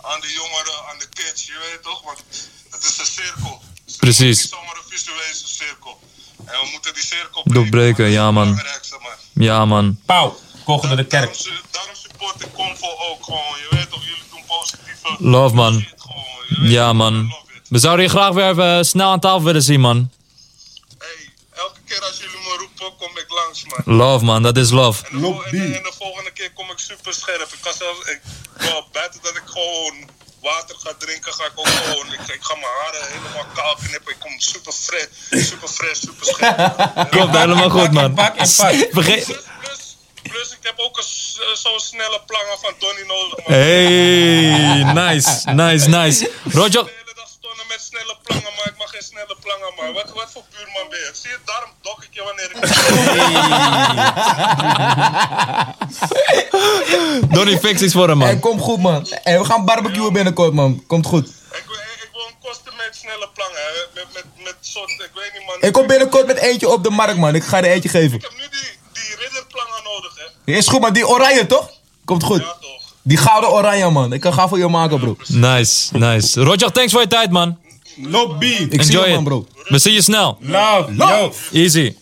G: aan de jongeren, aan de kids, je weet toch. Want het is een cirkel. Het
C: Precies.
G: is niet zomaar een visuele cirkel. En we moeten die cirkel
C: Doorbreken,
G: man.
C: ja, man.
G: Dat is het belangrijkste, man.
C: Ja, man.
A: Pauw. Kochen door de
G: Daarom,
A: kerk.
G: su- daarom support ik Convo ook gewoon. Je weet toch, jullie doen positieve
C: Love, man.
G: shit gewoon. Je weet
C: Ja,
G: toch,
C: man.
G: love it.
C: We zouden je graag weer even snel aan tafel willen zien, man.
G: Hey, elke keer als jullie me roepen, kom ik langs, man.
C: Love, man. Dat is love.
G: En de, vol- en, de, en de volgende keer kom ik super scherp. Ik ga zelfs, ik, wel, buiten dat ik gewoon water ga drinken, ga ik ook gewoon, ik, ik ga mijn haren helemaal kaal knippen. Ik kom super fresh, super fresh, super scherp.
C: Klopt, helemaal goed, man.
A: Pak en pak.
C: Vergeet...
G: Plus, plus, plus, ik heb ook een s- zo'n snelle planger van Donnie nodig, man.
C: Hey, nice, nice, nice.
G: de
C: Roger,
G: hele dag stonden met snelle plangen, maar ik mag geen snelle plangen, maar wat, wat voor buurman ben je? Zie je, daarom dok ik je wanneer ik...
C: Donnie fix iets voor hem,
H: Hey,
C: man.
H: kom goed man. Hey, we gaan barbecuen binnenkort man. Komt goed.
G: ik, wil- ik wil een kosten met snelle plangen, hè, met, met, met soort, ik weet niet man.
D: Ik kom binnenkort met eentje op de markt, man. Ik ga er eentje geven.
G: Ik heb nu die, die ridderplangen nodig, hè.
D: Ja, Is goed, man. Die oranje, toch? Komt
G: Ja,
D: goed.
G: toch.
D: Die gouden oranje, man. Ik kan gaan voor je maken, bro.
C: Nice, nice. Roger, thanks voor je tijd, man.
E: Lobby.
D: Ik zie
C: Enjoy
D: je,
C: it.
D: man, bro.
C: We zien je snel.
E: Love. Yo.
C: Easy.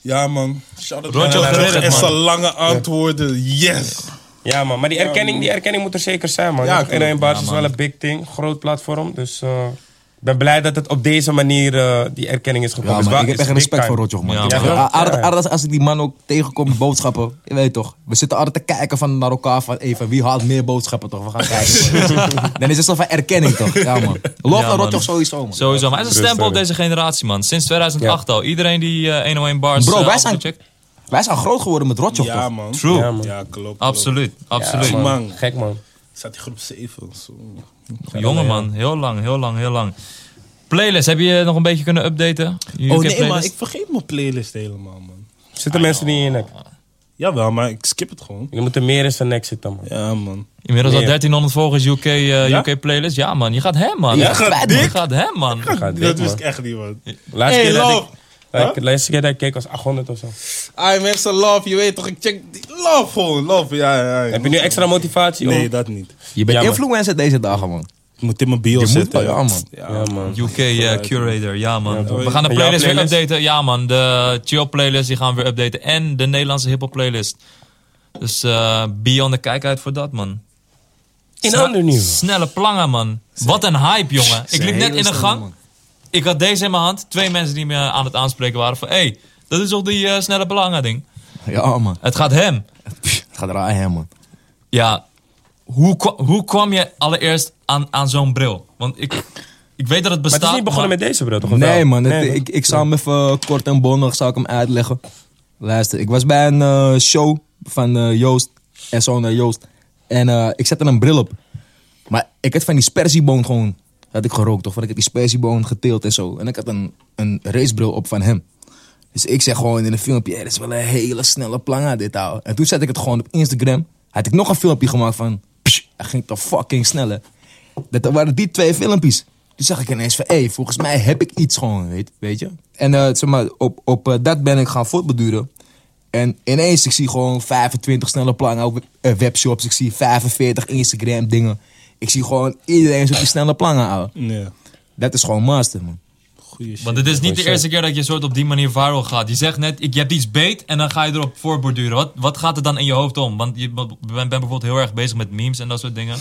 E: Ja, man. Shout-out
C: Rondje
E: naar
C: op de
E: Love.
C: Reddit,
E: Echt
C: man.
E: zo'n lange antwoorden. Yes.
A: Ja, man. Maar die erkenning, die erkenning moet er zeker zijn, man.
E: Ja,
A: Ja,
E: klopt.
A: NRM Bars is wel een big thing. Groot platform. Dus eh, ik ben blij dat het op deze manier eh, die erkenning is gekomen.
D: Ja,
A: Is
D: man,
A: wel-
D: ik heb
A: is
D: echt
A: big
D: respect
A: time.
D: voor Rotjoch, man.
C: Ja,
D: Ja,
C: man.
A: Ja.
D: als ik die man ook tegenkom, boodschappen. Je weet toch. We zitten altijd te kijken van, naar elkaar van, hey, van wie haalt meer boodschappen, toch? We gaan kijken. Dan is het zo van erkenning, toch? Ja, man. Lof
C: Ja,
D: naar
C: man.
D: Rotjoch sowieso, man.
C: Sowieso. Maar hij is een
A: Rust
C: stempel op
A: hebben.
C: deze generatie, man. Sinds 2008 al. Iedereen die eh, 101 bars
D: Bro,
C: eh,
D: wij zijn-
C: afgecheckt.
D: Wij zijn groot geworden met Rotjoch,
E: Ja,
D: toch?
E: man.
C: True.
A: Ja, man.
E: Ja, klopt.
C: Absoluut, absoluut.
A: Ja, man.
E: Man.
A: Gek, man.
E: Zat die groep 7.
C: Jonge man, heel lang, heel lang, heel lang. Playlist, heb je eh, nog een beetje kunnen updaten? Je
E: Oh
C: UK
E: nee, maar
C: playlist?
E: ik vergeet mijn playlist helemaal, man.
A: Zitten mensen niet in je nek?
E: Jawel, maar ik skip het gewoon.
A: Je moet er meer in zijn nek zitten, man.
E: Ja, man.
C: Inmiddels al
A: Nee.
C: 1300 volgers UK, eh,
E: Ja?
C: UK playlist. Ja man, je gaat hem man.
E: Ja, gaat
C: man.
E: dik.
C: Je gaat hem man.
A: Ga dit,
E: dat
A: man.
E: wist ik echt niet, man.
A: Laatste
E: Hey,
A: keer dat
E: love.
A: ik... eh, De laatste keer dat ik keek was 800 of zo.
E: Ai, mensen, love. Je weet toch, ik check... die- Love gewoon, love. Ja, ja, ja.
A: Heb je nu extra motivatie?
E: Nee,
A: om-
E: dat niet.
D: Je bent
A: Ja, man.
D: influencer deze dagen, man.
E: Ik moet in mijn bio
D: Je moet
E: zetten.
D: wel, ja, man.
E: Ja,
A: Ja, man.
C: UK eh, curator, ja man. We
E: man.
C: gaan de
A: Jouw
C: playlist,
A: playlist?
C: weer updaten. Ja man, de chill playlist die gaan we weer updaten. En de Nederlandse hiphop playlist. Dus eh be on the kijk uit voor dat man.
A: In
C: Sne-
A: ander nieuws.
C: Snelle plangen man. Wat een hype jongen. Ik liep net
D: hele
C: in de
D: snelle
C: gang.
D: man.
C: Ik had deze in mijn hand. Twee mensen die me aan het aanspreken waren van... Hé, hey, dat is toch die eh, snelle plangen ding.
D: Ja, man.
C: Het gaat hem.
D: Pff, Het gaat raar, hè, man.
C: Ja, hoe, kwa- hoe kwam je allereerst aan, aan zo'n bril? Want ik, ik weet dat het
A: Maar
C: bestaat.
A: het is niet begonnen
C: maar-
A: met deze, bro. Toch? Of
D: Nee,
A: wel?
D: man. het-
A: Nee,
D: ik, ik zal hem even kort en bondig zal ik hem uitleggen. Luister, ik was bij een eh, show van eh, Joost en zo'n eh, Joost. En eh, ik zette een bril op. Maar ik had van die spersieboon gewoon... Had ik gerookt, toch? Want ik had die spersieboon geteeld en zo. En ik had een, een racebril op van hem. Dus ik zeg gewoon in een filmpje... "Hé, dit is wel een hele snelle planga dit, ouwe. En toen zette ik het gewoon op Instagram. Had ik nog een filmpje gemaakt van... "Psh, Hij ging toch fucking sneller. Dat waren die twee filmpjes. Toen zag ik ineens van, hé, hey, volgens mij heb ik iets gewoon, weet, weet je. En eh, zeg maar, op, op eh, dat ben ik gaan voortbeduren. En ineens, ik zie gewoon 25 snelle plannen op eh, webshops. Ik zie 45 Instagram dingen. Ik zie gewoon iedereen zo'n snelle plannen houden.
E: Nee,
D: Dat is gewoon master, man.
E: goeie shit.
C: Want het is niet de eerste keer dat je soort op die manier viral gaat. Je zegt net, ik, je hebt iets beet en dan ga je erop voorborduren. Wat, wat gaat er dan in je hoofd om? Want je bent bent bijvoorbeeld heel erg bezig met memes en dat soort dingen.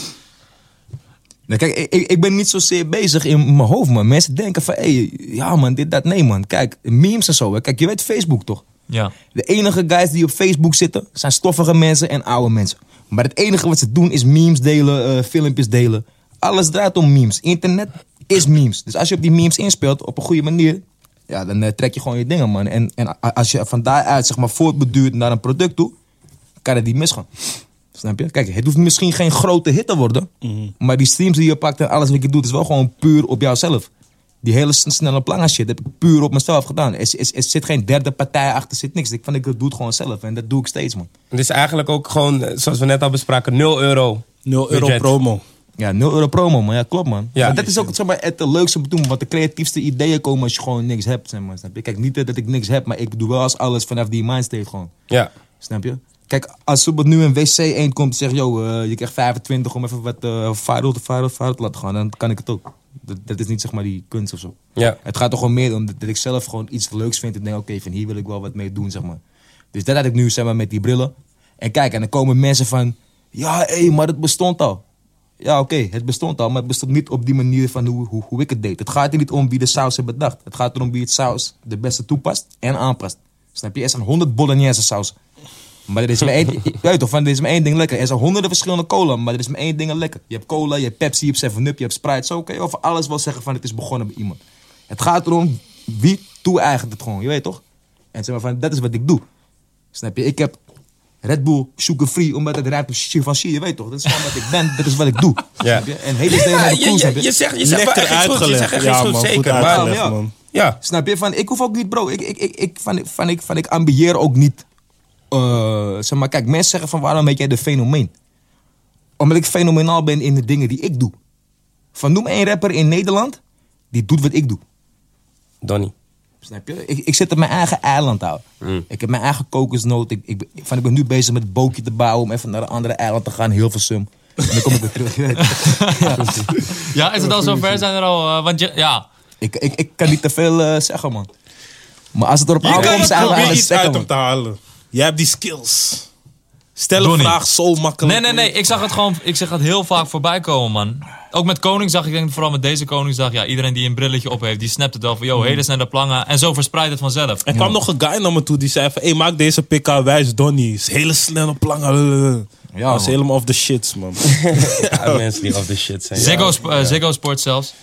D: Nou, kijk, ik, ik- ik ben niet zozeer bezig in mijn hoofd, man. Mensen denken van, hé, hey, ja man, dit, dat. Nee man, kijk, memes en zo. Hè. Kijk, je weet Facebook toch?
C: Ja.
D: De enige guys die op Facebook zitten zijn stoffige mensen en oude mensen. Maar het enige wat ze doen is memes delen, eh, filmpjes delen. Alles draait om memes. Internet is memes. Dus als je op die memes inspeelt op een goede manier, ja, dan eh, trek je gewoon je dingen, man. En, en a- als je van daaruit zeg maar voortbeduurt naar een product toe, kan het niet misgaan. Snap je? Kijk, het hoeft misschien geen grote hit te worden, maar die streams die je pakt en alles wat je doet, is wel gewoon puur op jouzelf. Die hele sn- snelle plannen shit heb ik puur op mezelf gedaan. Er, is- er zit geen derde partij achter, er zit niks. Ik, van, ik doe het gewoon zelf en dat doe ik steeds, man.
A: Het is eigenlijk ook gewoon, eh, zoals we net al bespraken, 0 euro.
E: 0 euro
A: budget.
E: promo.
D: Ja, 0 euro promo, man. Ja, klopt, man.
A: Ja.
D: maar dat is ook zeg maar, het leukste om te doen. Want de creatiefste ideeën komen als je gewoon niks hebt, zeg maar. Snap je? Kijk, niet dat ik niks heb, maar ik bedoel wel als alles vanaf die mindstate gewoon.
A: Ja.
D: Snap je? Kijk, als bijvoorbeeld nu een wc 1 komt en zegt, yo, eh, je krijgt 25 om even wat eh viral, viral, viral te laten gaan, dan kan ik het ook. Dat, dat is niet zeg maar die kunst of zo.
A: Ja.
D: Het gaat toch gewoon meer om dat, dat ik zelf gewoon iets leuks vind en denk, oké, van hier wil ik wel wat mee doen, zeg maar. Dus dat had ik nu, zeg maar, met die brillen. En kijk, en dan komen mensen van, ja, hé, maar het bestond al. Ja, oké, het bestond al, maar het bestond niet op die manier van hoe, hoe, hoe ik het deed. Het gaat er niet om wie de saus heeft bedacht. Het gaat erom wie het saus de beste toepast en aanpast. Snap je? Er zijn 100 bolognese sausen. Maar er is maar één, je weet toch, van, er is maar één ding lekker. Er zijn honderden verschillende cola, maar er is maar één ding lekker. Je hebt cola, je hebt Pepsi, je hebt 7-Up, je hebt Sprite. Zo kan je over alles wel zeggen van het is begonnen bij iemand. Het gaat erom wie toe-eigent het gewoon, je weet toch? En zeg maar van, dat is wat ik doe. Snap je? Ik heb Red Bull Sugar Free, omdat het rijmt op shit van shit, je weet toch? Dat is gewoon wat ik ben, dat is wat ik doe.
A: Ja.
D: Snap je? En hele dingen naar de
A: je,
D: koers, snap
A: je, je
D: je?
A: zegt, je zegt wel
E: Lekker
A: echt iets goeds, je zegt
E: uitgelegd.
A: echt
E: Ja,
A: iets goeds,
E: man, goed
A: zeker.
E: uitgelegd,
A: Maar,
D: Ja,
E: man.
A: ja,
D: Snap je? Van, ik hoef ook niet, bro. Ik, ik, ik, ik, van, van, ik, van, ik ambieer ook niet. eh, zeg maar, kijk, mensen zeggen van waarom heet jij de fenomeen? Omdat ik fenomenaal ben in de dingen die ik doe. Van noem één rapper in Nederland die doet wat ik doe.
A: Donnie.
D: Snap je? Ik, ik zit op mijn eigen eiland, ouwe.
E: Hmm.
D: Ik heb mijn eigen kokosnoot. Ik, ik, ik- van, ik ben nu bezig met het bootje te bouwen om even naar een andere eiland te gaan. Heel veel sum. En dan kom ik weer terug. je weet. ja.
C: Ja, is het al zover? Zijn er al... eh, want je, ja,
D: ik, ik, ik kan niet te veel eh, zeggen, man. Maar als het erop
E: Je kan
D: aankomt, zijn we aan
E: probeer
D: het
E: iets uit
D: zeggen,
E: hem
D: man.
E: te halen. Jij hebt die skills. Stel een
C: Donnie.
E: vraag zo
C: Nee,
E: makkelijk.
C: nee, nee. Ik zag het gewoon. Ik zeg het heel vaak voorbij komen, man. Ook met Koningsdag. Ik denk vooral met deze Koningsdag. Ja, iedereen die een brilletje op heeft, die snapt het wel van. Yo, hele snelle plangen. En zo verspreidt het vanzelf.
E: Er kwam nog een guy naar me toe die zei van... Hé, maak deze pk wijs Donnie. Is hele snelle plangen. Ja,
D: Ja,
E: dat is
D: man.
E: helemaal off the shits, man.
A: Ja, mensen die off the shit zijn. ja.
C: Ziggo, Sp- eh, Ziggo Sport zelfs.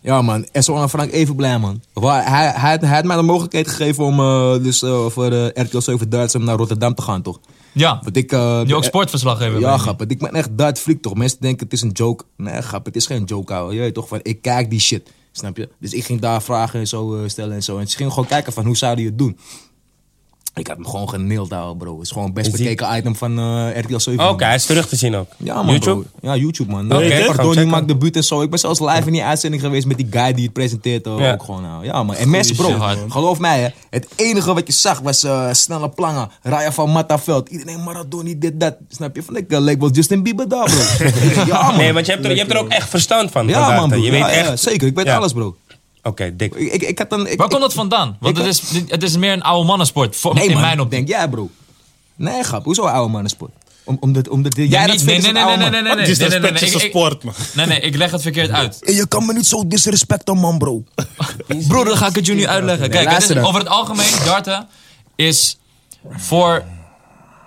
D: Ja, man. En zo aan Frank even blij, man. Waar, hij, hij, hij had mij de mogelijkheid gegeven om eh, dus, eh, voor de RTL 7 Duitsers naar Rotterdam te gaan, toch?
C: Ja.
D: Want ik, eh,
C: Die ook
D: eh,
C: sportverslag hebben.
D: Ja, grappig. Ik ben echt dat freak toch. Mensen denken het is een joke. Nee, grap, het is geen joke, ouwe. Je weet toch, van ik kijk die shit. Snap je? Dus ik ging daar vragen en zo eh, stellen en zo. En ze gingen gewoon kijken van hoe zouden je het doen. Ik had hem gewoon geneeld, ouwe, bro. Het is gewoon het best
A: Is die-
D: bekeken item van eh, RTL 7.
A: Oké,
D: man.
A: hij is terug te zien ook.
D: Ja, man,
A: YouTube?
D: bro. Ja, YouTube, man.
A: Oké, we gaan
D: Donnie
A: checken.
D: maakt debuut en zo. Ik ben zelfs live in die uitzending geweest met die guy die het presenteert. eh,
A: Ja.
D: Ook gewoon, nou. Ja, man. En mensen, bro.
C: shit, man.
D: geloof mij, hè. Het enige wat je zag was eh, snelle plangen. Raya van Mattaveld. Iedereen Maradoni, dit, dat. Snap je? Van, ik eh, leek wel Justin Bieber daar, bro. ja, man.
A: Nee, want je hebt, er, je hebt er ook echt verstand van.
D: ja,
A: vandaag,
D: man,
A: hè.
D: bro.
A: Je weet
D: Ja, ja,
A: echt...
D: zeker. Ik weet
A: Ja.
D: alles, bro.
A: Oké, dik.
D: Ik, ik, ik had een... Ik,
C: Waar
D: ik-
C: komt dat vandaan? Want
D: ik-
C: het is, het is meer een oude mannensport. Voor,
D: Nee,
C: in
D: man.
C: mijn optiek.
D: Denk jij, bro. Nee, grap. Hoezo oude mannensport? Om, omdat, omdat jij dat
C: niet-
D: vindt, is het oude man.
C: nee, nee,
E: Dus dat
C: nee,
E: is
C: nee, nee,
E: petjes
C: ik- ik-
E: sport, man.
C: Nee, nee, ik leg het verkeerd uit.
D: Hey, je kan me niet zo disrespecten, man, bro.
C: Broer, dan ga ik het jullie uitleggen. Kijk, het is-
D: luister dan.
C: over het algemeen, darten is voor...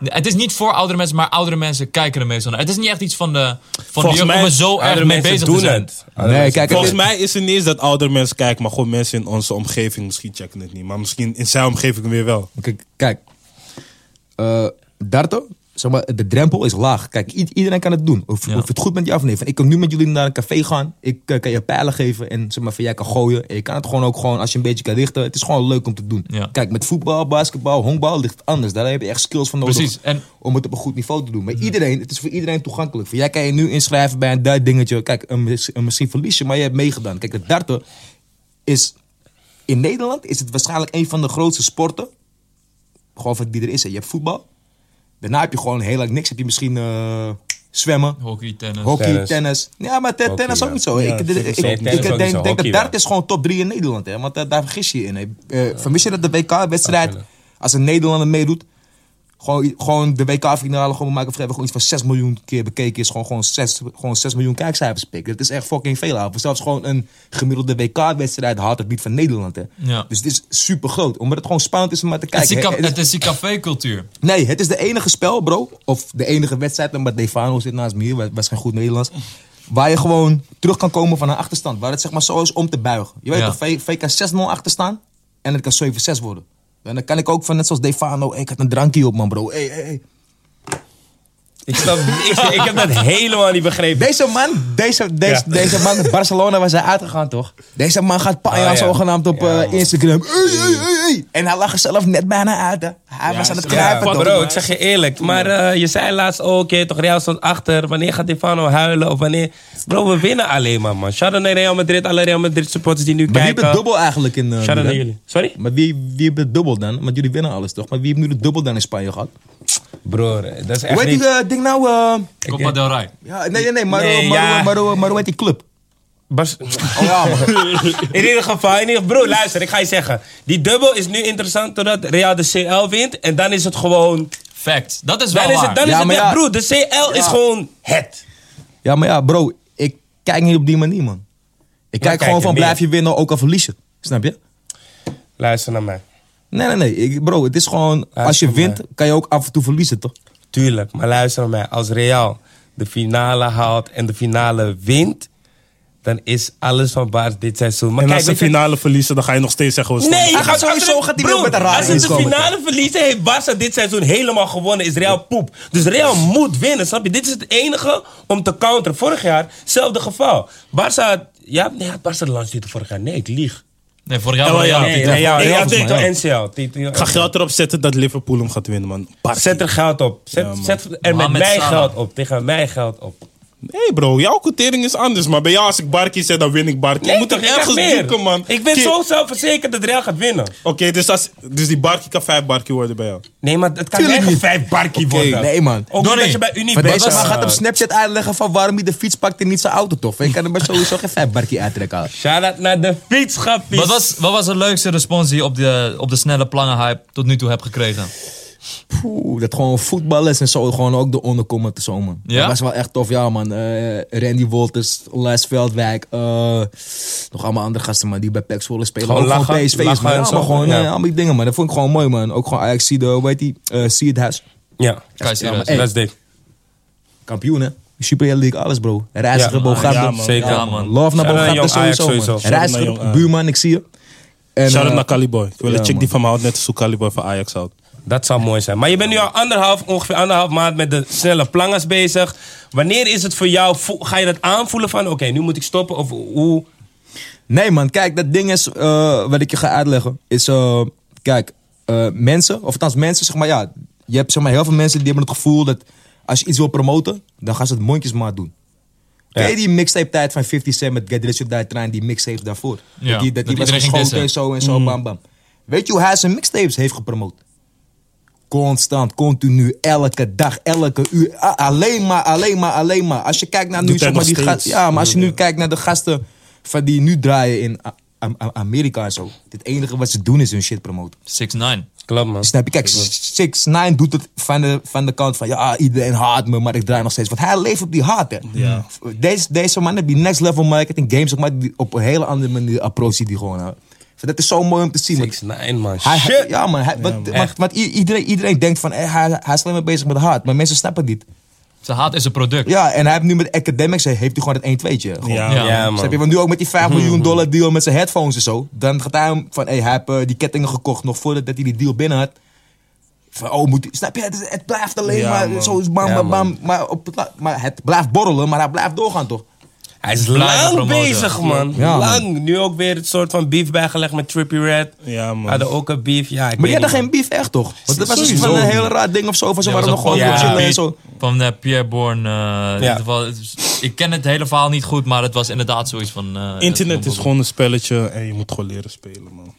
C: Het is niet voor oudere mensen, maar oudere mensen kijken er meestal naar. Het is niet echt iets van de, van de
E: Volgens
C: jeugd om
E: mij-
C: er zo erg
A: Andere
C: mee
A: mensen
C: bezig
A: doen
C: te zijn.
A: het. Andere
D: Nee,
A: mensen-
D: kijk,
E: Volgens
D: het-
E: mij is het niet eens dat oudere mensen kijken, maar gewoon mensen in onze omgeving misschien checken het niet. Maar misschien in zijn omgeving weer wel.
D: Kijk, kijk. Eh, darten, zeg maar, de drempel is laag. Kijk, i- iedereen kan het doen. Of,
C: Ja.
D: of het goed met je of nee. Van, ik kan nu met jullie naar een café gaan. Ik eh, kan je pijlen geven en zeg maar, van, jij kan gooien. En je kan het gewoon ook gewoon, als je een beetje kan richten. Het is gewoon leuk om te doen.
C: Ja.
D: Kijk, met voetbal, basketbal, honkbal ligt het anders. Daar heb je echt skills van nodig.
C: Precies, en-
D: Om het op een goed niveau te doen. Maar iedereen, het is voor iedereen toegankelijk. Van, jij kan je nu inschrijven bij een duit dingetje. Kijk, een, mis- een misschien verlies je, maar je hebt meegedaan. Kijk, het darten is... In Nederland is het waarschijnlijk een van de grootste sporten gewoon van die er is. hè. Je hebt voetbal. Daarna heb je gewoon heel lang niks. Heb je misschien eh, zwemmen,
C: Hockey, tennis.
D: hockey,
A: Tennis.
D: tennis. Ja, maar te-
A: Hockey,
D: tennis ook
A: ja.
D: niet zo. ik ik- ik-
A: Nee,
D: ik
A: tennis ook
D: denk,
A: niet zo.
D: denk
A: Hockey
D: dat
A: wel.
D: dart is gewoon top 3 in Nederland. Hè? Want eh, daar vergis je je in. Hè? Eh, vermis je dat de WK-wedstrijd, als een Nederlander meedoet... Gewoon, gewoon de WK-finale gewoon maken vrijwel gewoon iets van 6 miljoen keer bekeken is. Gewoon, gewoon, 6, gewoon 6 miljoen kijkcijfers pikken. Dat is echt fucking veel. hè. Zelfs gewoon een gemiddelde WK-wedstrijd haalt het niet van Nederland. Hè?
C: Ja.
D: Dus het is super groot. Omdat het gewoon spannend is om maar te
C: het, is
D: kijken.
C: die
D: hè.
C: ka-
D: Het is-
C: het is die café-cultuur.
D: Nee, het is de enige spel, bro. Of de enige wedstrijd. Maar Defano zit naast me hier. wa- Was geen goed Nederlands. Waar je gewoon terug kan komen van een achterstand. Waar het zeg maar zo is om te buigen. Je weet
C: Ja.
D: toch, V- VK 6-0 achterstaan. En het kan 7-6 worden. En dan kan ik ook van net zoals Defano. Ik had een drankje op, man, bro. Hey, hey, hey.
A: Ik, snap, ik, ik heb dat helemaal niet begrepen.
D: Deze man, deze, deze,
A: Ja.
D: deze man, Barcelona was hij uitgegaan, toch? Deze man gaat paar
A: Ah,
D: jaar
A: ja.
D: zogenaamd op
A: Ja,
D: eh,
A: man.
D: Instagram. Hey, hey, hey, hey. En hij lag er zelf net bijna uit, hè. Hij was aan het
A: Ja,
D: kruipen, toch?
A: bro, ik zeg je eerlijk. Maar eh, je zei laatst ook, oké, toch Real stond achter. Wanneer gaat Defano huilen? Of wanneer... Bro, we winnen alleen maar, man. Shout-out naar Real Madrid. Alle Real Madrid supporters die nu
D: Maar wie
A: kijken.
D: hebben dubbel eigenlijk in... eh,
A: Shout-out
D: Milan?
A: naar jullie. Sorry?
D: Maar wie, wie hebben het dubbel dan? Want jullie winnen alles toch? Maar wie heeft nu de dubbel dan in Spanje gehad?
A: Broer, dat is
D: Hoe
A: echt
D: heet die
A: niet...
D: eh, ding nou? eh,
C: Copa del Rey.
D: ja, nee, nee, nee. Maar,
A: Nee,
D: eh, maar,
A: ja.
D: maar, maar, maar hoe heet die club?
A: Bas-
D: Oh ja, man.
A: In ieder geval, in ieder Bro, luister, ik ga je zeggen. Die dubbel is nu interessant doordat Real de CL wint. En dan is het gewoon...
C: Fact. Dat is wel
A: Dan is
C: waar.
A: het, dan
D: Ja,
A: is het
D: maar
A: echt,
D: ja.
A: broer. De CL is gewoon het.
D: ja, maar ja, bro. Ik kijk niet op die manier, man. Ik kijk
A: kijk
D: gewoon
A: je
D: van
A: meer?
D: blijf je winnen, ook al verlies je. Snap je?
A: Luister naar mij.
D: Nee, nee, nee. Ik, bro, het is gewoon... Als je
A: voor mij.
D: wint, kan je ook af en toe verliezen, toch?
A: Tuurlijk, maar luister naar mij. Als Real de finale haalt en de finale wint, dan is alles van baas dit seizoen. Maar
E: En
A: kijk,
E: als ze
A: weet je-
E: finale verliezen, dan ga je nog steeds zeggen... we staan-
A: Nee,
D: Hij gaat
A: als-
D: sowieso
A: als-
D: gaat hij
A: broer,
D: weer met een raar
A: Als ze de
D: inkomen.
A: finale verliezen, heeft Barça dit seizoen helemaal gewonnen. Is Real poep. Dus Real moet winnen, snap je? Dit is het enige om te counteren. Vorig jaar, hetzelfde geval. Barça, had- ja, nee, had Barça de landstitel vorig jaar? Nee, ik lieg.
C: Nee, vorig jaar
E: Ja,
C: wel ja.
E: ja, ja.
A: Nee, Real,
E: Ah, Ja,
A: Real,
E: volgens
A: titel
E: mij, ja.
A: NCL. titel-
E: Ik ga geld erop zetten dat Liverpool hem gaat winnen, man. Barca.
A: Zet er geld op. Zet, zet er met
C: Mohamed
A: mijn
C: Salah.
A: geld op. Tegen mijn geld op.
E: Nee bro, jouw quotering is anders. Maar bij jou als ik barkie zeg, dan win ik barkie. je moet
A: toch,
E: toch
A: ik krijg
E: ergens
A: meer.
E: zoeken, man.
A: Ik ben
E: Ki-
A: zo zelfverzekerd dat Real gaat winnen.
E: Oké, dus, als- dus die barkie kan vijf barkie worden bij jou.
A: Nee, maar het kan
D: Tuurlijk
A: echt
D: niet.
A: vijf barkie
E: Oké,
A: worden.
D: nee, man.
A: Ook niet
C: Donnie,
A: dat je bij Unie
D: Maar
A: bent.
D: deze man
A: Eh,
D: gaat op Snapchat uitleggen van waarom hij de fiets pakt en niet zijn auto, toch? Ik kan hem maar sowieso geen vijfbarkie uittrekken. al.
A: Shout-out naar de fietschappies.
C: Wat was, wat was de leukste respons die je op de, op de snelle plangenhype tot nu toe hebt gekregen?
D: Poeh, dat gewoon voetbal is en zo. Gewoon ook de onderkomen te zo, man.
C: Ja?
D: Dat was wel echt tof, ja, man. Eh, Randy Wolters, Les Veldwijk. eh, nog allemaal andere gasten, man, die bij PEC Zwolle spelen.
A: Gewoon
D: Ook
A: lachen,
D: gewoon PSV's,
A: lachen
D: man.
A: en
D: Ja,
A: zo,
D: maar gewoon
A: ja.
D: eh, allemaal die dingen, man. Dat vond ik gewoon mooi, man. Ook gewoon Ajax, zie de, weet die, eh, zie het huis.
A: Ja,
C: Kai Sierhuis.
D: Hey.
A: dat is dik.
D: Kampioen, hè? Super League, alles, bro. Reiziger,
A: Ja, man.
D: Bogarde.
E: Ja, man.
A: Zeker.
C: Ja, man.
D: Love
A: Shout-out
D: naar
A: naar
D: Bogarde
A: jong Ajax
D: sowieso, man.
A: sowieso.
E: Shout-out naar jong
D: Reiziger,
E: Ajax.
D: buurman, ik zie je. En,
E: Shout-out
D: eh,
E: naar Caliboy. Ik wil
D: ja,
E: een chick die
D: man.
E: van me houdt, net als hoe Caliboy van Ajax houdt.
A: Dat zou mooi zijn. Maar je bent nu al anderhalf, ongeveer anderhalf maand met de snelle plangers bezig. Wanneer is het voor jou, vo- ga je dat aanvoelen van oké, nu moet ik stoppen? Of hoe?
D: Nee, man, kijk, dat ding is, eh, wat ik je ga uitleggen, is, eh, kijk, eh, mensen, of althans mensen, zeg maar, ja, je hebt zeg maar heel veel mensen die hebben het gevoel dat als je iets wil promoten, dan gaan ze het mondjesmaat doen. Ken je die mixtape tijd van 50 Cent met Get Rich or Die Trying, die mixtape daarvoor?
C: Ja,
D: dat die,
C: dat
D: dat die was
C: iedereen ging
D: geschoten en
C: dissen.
D: zo en zo, bam bam. Weet je hoe hij zijn mixtapes heeft gepromoot? Constant, continu, elke dag, elke uur. A- alleen maar, alleen maar, alleen maar. Als je kijkt naar nu,
E: Doet hij
D: zeg maar,
E: nog
D: die ga-
E: steeds?
D: ja, maar als je nu kijkt naar de gasten van die nu draaien in A- A- A- Amerika en zo. Het enige wat ze doen is hun shit promoten.
C: 6 9
A: Klopt man.
D: Snap je? Kijk, 6 9 doet het van de, van de kant van ja, iedereen haat me, maar ik draai nog steeds. Want hij leeft op die haat, hè? Deze, deze man heeft die next level marketing games, zeg maar die op een hele andere manier approach die gewoon. hè. Dat is zo mooi om te zien. want
A: 6 9 man.
D: hij,
A: Shit.
D: Ja, man. Hij, want, want,
A: Echt.
D: want i- iedereen, iedereen denkt van, eh, hij, hij is alleen maar bezig met hard. Maar mensen snappen het niet.
C: Ze haat is een product.
D: Ja, en hij heeft nu met Academics, eh, heeft hij gewoon het 1-2'tje. gewoon.
E: Ja.
C: Ja.
A: Ja, man.
D: Snap je? Want nu ook met die 5 miljoen dollar deal met zijn headphones en zo. Dan gaat hij hem van, hey, hij heeft eh, die kettingen gekocht nog voordat dat hij die deal binnen had. Van, oh, moet hij- snap je? Het, het blijft alleen
E: Ja,
D: maar
E: man.
D: zo, bam,
A: Ja,
D: bam,
A: man.
D: bam. Maar, op het, la- maar het blijft borrelen, maar hij blijft doorgaan, toch?
A: Hij is
C: Blijven
A: lang
C: promoten.
A: bezig, man.
D: Ja, man.
A: lang. Nu ook weer het soort van beef bijgelegd met Trippy Red.
E: Ja, man.
A: Hadden ook een beef. Ja, ik
D: Maar
A: weet
D: jij had
A: niet,
D: geen beef echt, toch? Want dat was dus
C: Sowieso
D: van een
C: niet.
D: heel raar ding of zo. Van ze
C: Ja,
D: waren
C: was
D: nog
C: een
D: gewoon
A: ja.
D: aan het chillen en
C: beat
D: zo.
C: Van eh, Pierre Bourne. eh, in
A: Ja.
C: ieder geval, het is- ik ken het hele verhaal niet goed, maar het was inderdaad zoiets van... eh,
E: Internet
C: het-
E: is gewoon een spelletje en je moet gewoon leren spelen, man.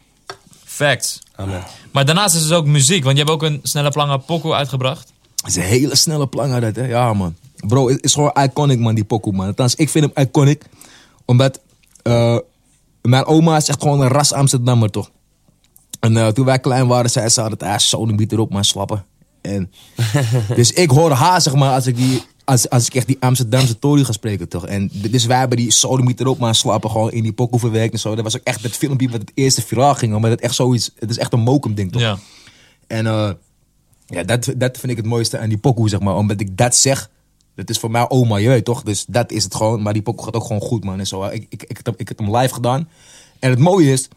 C: Facts.
A: man. Amen.
C: Maar daarnaast is het ook muziek, want je hebt ook een snelle plange pokoe uitgebracht.
D: Het is een hele snelle planger dat, hè? Ja, man. Bro, het is gewoon iconic, man, die pokoe, man. Althans, ik vind hem iconic. Omdat eh, mijn oma is echt gewoon een ras Amsterdammer, toch? En eh, toen wij klein waren, zei ze altijd... Ah, zo'n biet erop, maar slappen. En, dus ik hoor haar, zeg maar, als ik, die, als, als ik echt die Amsterdamse tory ga spreken, toch? En d- dus wij hebben die sodomiet erop, maar slappen gewoon in die pokoe verwerkt en zo. Dat was ook echt dat filmpje wat het eerste viraal ging. hoor, Maar dat echt zoiets... Het is echt een mokum ding, toch?
C: Ja.
D: En eh, ja, dat, dat vind ik het mooiste aan die pokoe, zeg maar. Omdat ik dat zeg, dat is voor mij oma, je weet toch? Dus dat is het gewoon. Maar die pokoe gaat ook gewoon goed, man. En zo, ik, ik, ik, heb- ik heb hem live gedaan. En het mooie is,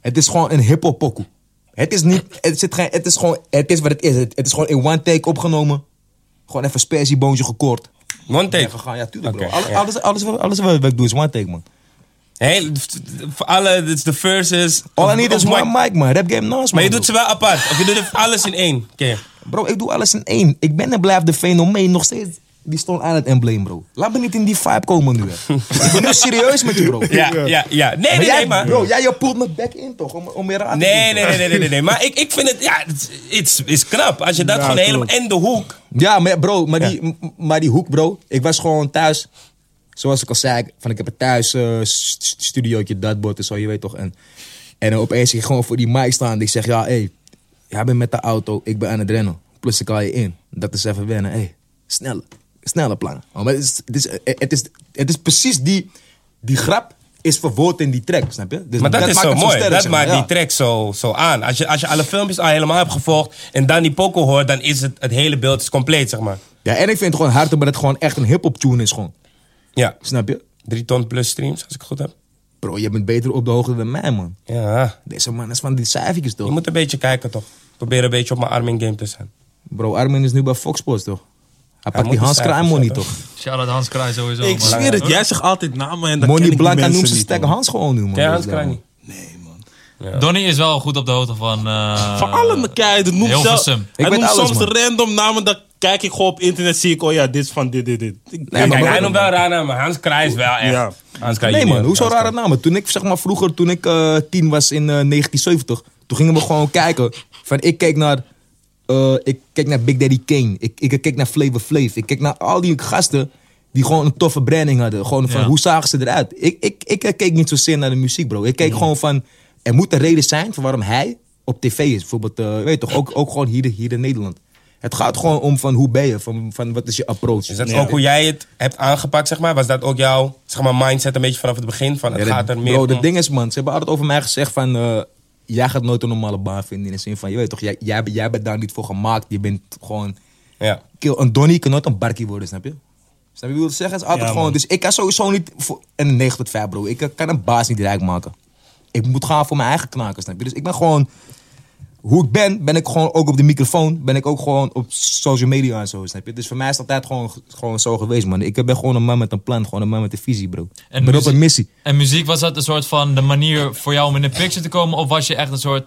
D: het is gewoon een hiphop pokoe. Het is niet, het, zit geen, het is gewoon, het is wat het is. Het, het is gewoon in one take opgenomen. Gewoon even spersieboontje gekort.
A: One
D: En
A: take.
D: gegaan, ja tuurlijk
A: Oké,
D: bro. Alles,
A: ja.
D: alles, alles, wat- alles wat ik doe is one take, man.
A: Hey, f- voor alle, het is de verses.
D: All I
A: Of-
D: need
A: of
D: is one
A: mic.
D: mic, man. Rap game naast,
A: Maar je
D: man,
A: doet ze wel apart. Of je doet het alles in één. Oké.
D: Bro, ik doe alles in één. Ik ben en blijf de fenomeen nog steeds. Die stond aan het embleem, bro. Laat me niet in die vibe komen nu. hè. ik ben nu serieus met je, bro.
A: Ja, ja, ja. Nee,
D: Maar
A: nee,
D: jij,
A: nee, maar...
D: Bro, jij je poelt me back in toch? Om, om je raad te
A: Nee,
D: doen.
A: nee, nee, nee, nee, nee, nee. Maar ik, ik vind het, ja, het is, is knap. Als je dat gewoon helemaal, en de hoek.
D: Ja, maar bro, maar, die, m- maar die hoek, bro. Ik was gewoon thuis. Zoals ik al zei, ik- van ik heb een thuis eh, st- st- studiootje, datbord en zo, je weet toch. En, en dan opeens ging ik gewoon voor die mic staan. Ik zeg, ja, hé, hey, jij bent met de auto, ik ben aan het rennen. Plus ik haal je in. Dat is even wennen, hé. Hey, snelle, snelle plannen. Oh, maar het, is, het, is, het, is, het is precies die, die grap is verwoord in die track, snap je? Dus
A: Maar dat, is
D: maakt
A: zo
D: het
A: mooi.
D: sterk,
A: dat
D: zeg maar,
A: maakt die
D: ja.
A: track zo, zo aan. Als je, als je alle filmpjes al helemaal hebt gevolgd en dan die poco hoort, dan is het, het hele beeld is compleet, zeg maar.
D: Ja, en ik vind het gewoon hard, omdat het gewoon echt een hip-hop tune is, gewoon.
A: Ja,
D: Snap je?
A: drie ton plus streams, als ik het goed heb.
D: Bro, je bent beter op de hoogte dan mij, man.
A: Ja,
D: Deze man is van die cijfertjes
A: je
D: toch?
A: moet een beetje kijken toch. Probeer een beetje op mijn Armin game te zijn.
D: Bro, Armin is nu bij Fox Sports toch? Hij pakt
A: moet
D: die
A: de
D: Hans
A: cijfers
D: Kraaij money
A: hebben.
D: toch?
C: Shout-out Hans Kraai sowieso.
E: Ik
C: man.
E: zweer het, jij zegt altijd namen en dan ken
D: Money
E: ik
D: Blanca
E: die
D: noemt
E: mensen
D: ze
E: niet,
D: sterke
E: man.
D: Hans gewoon nu, man.
A: Ja, Hans
D: Dus, ja,
A: Kraaij niet.
C: Donnie is wel goed op de hoogte van... eh,
E: Van alle keiharden, noem zelf.
C: Hilversum.
E: Hij
D: Ik weet
E: noemt
D: alles,
E: soms
D: man.
E: random namen dat kijk ik gewoon op internet, zie ik, oh ja, dit is van dit, dit, dit. Ik-
D: Nee, maar-
A: Kijk, hij noemt wel raar namen. Hans Kraaij is wel echt.
E: Ja.
A: Hans Kraaij
D: Nee man,
A: junior.
D: hoezo
A: Hans
D: rare namen? Toen ik zeg maar vroeger, toen ik eh, tien was in eh, 1970, toen gingen we gewoon kijken. Van ik keek naar, eh, ik keek naar Big Daddy Kane, ik, ik keek naar Flavor Flav, ik keek naar al die gasten die gewoon een toffe branding hadden. Gewoon van
C: Ja.
D: hoe zagen ze eruit? Ik, ik, ik keek niet zozeer naar de muziek bro. Ik keek gewoon van, er moet een reden zijn voor waarom hij op tv is. Bijvoorbeeld, eh, weet je toch, ook, ook gewoon hier, hier in Nederland. Het gaat gewoon om van hoe ben je, van, van wat is je approach.
A: Is dat ook hoe jij het hebt aangepakt, zeg maar? Was dat ook jouw zeg maar, mindset een beetje vanaf het begin? Van, het
D: Ja,
A: gaat
D: dat-
A: er meer
D: bro,
A: om-
D: dat ding is, man. Ze hebben altijd over mij gezegd van... eh, jij gaat nooit een normale baan vinden. In de zin van, je weet toch, jij, jij, bent- jij bent daar niet voor gemaakt. Je bent gewoon...
A: Ja.
D: Kill, een Donnie kan nooit een barkie worden, snap je? Snap je wat ik wil zeggen? Het is altijd
E: Ja,
D: gewoon...
E: man.
D: Dus ik kan sowieso niet... Voor, een 9 tot 5, bro. Ik eh, kan een baas niet rijk maken. Ik moet gaan voor mijn eigen knaken, snap je? Dus ik ben gewoon... Hoe ik ben, ben ik gewoon ook op de microfoon. Ben ik ook gewoon op social media en zo, snap je? Dus voor mij is het altijd gewoon, gewoon zo geweest, man. Ik ben gewoon een man met een plan. Gewoon een man met een visie, bro. ik ben op
C: muziek-
D: een missie.
C: En muziek, was dat een soort van de manier voor jou om in de picture te komen? Of was je echt een soort...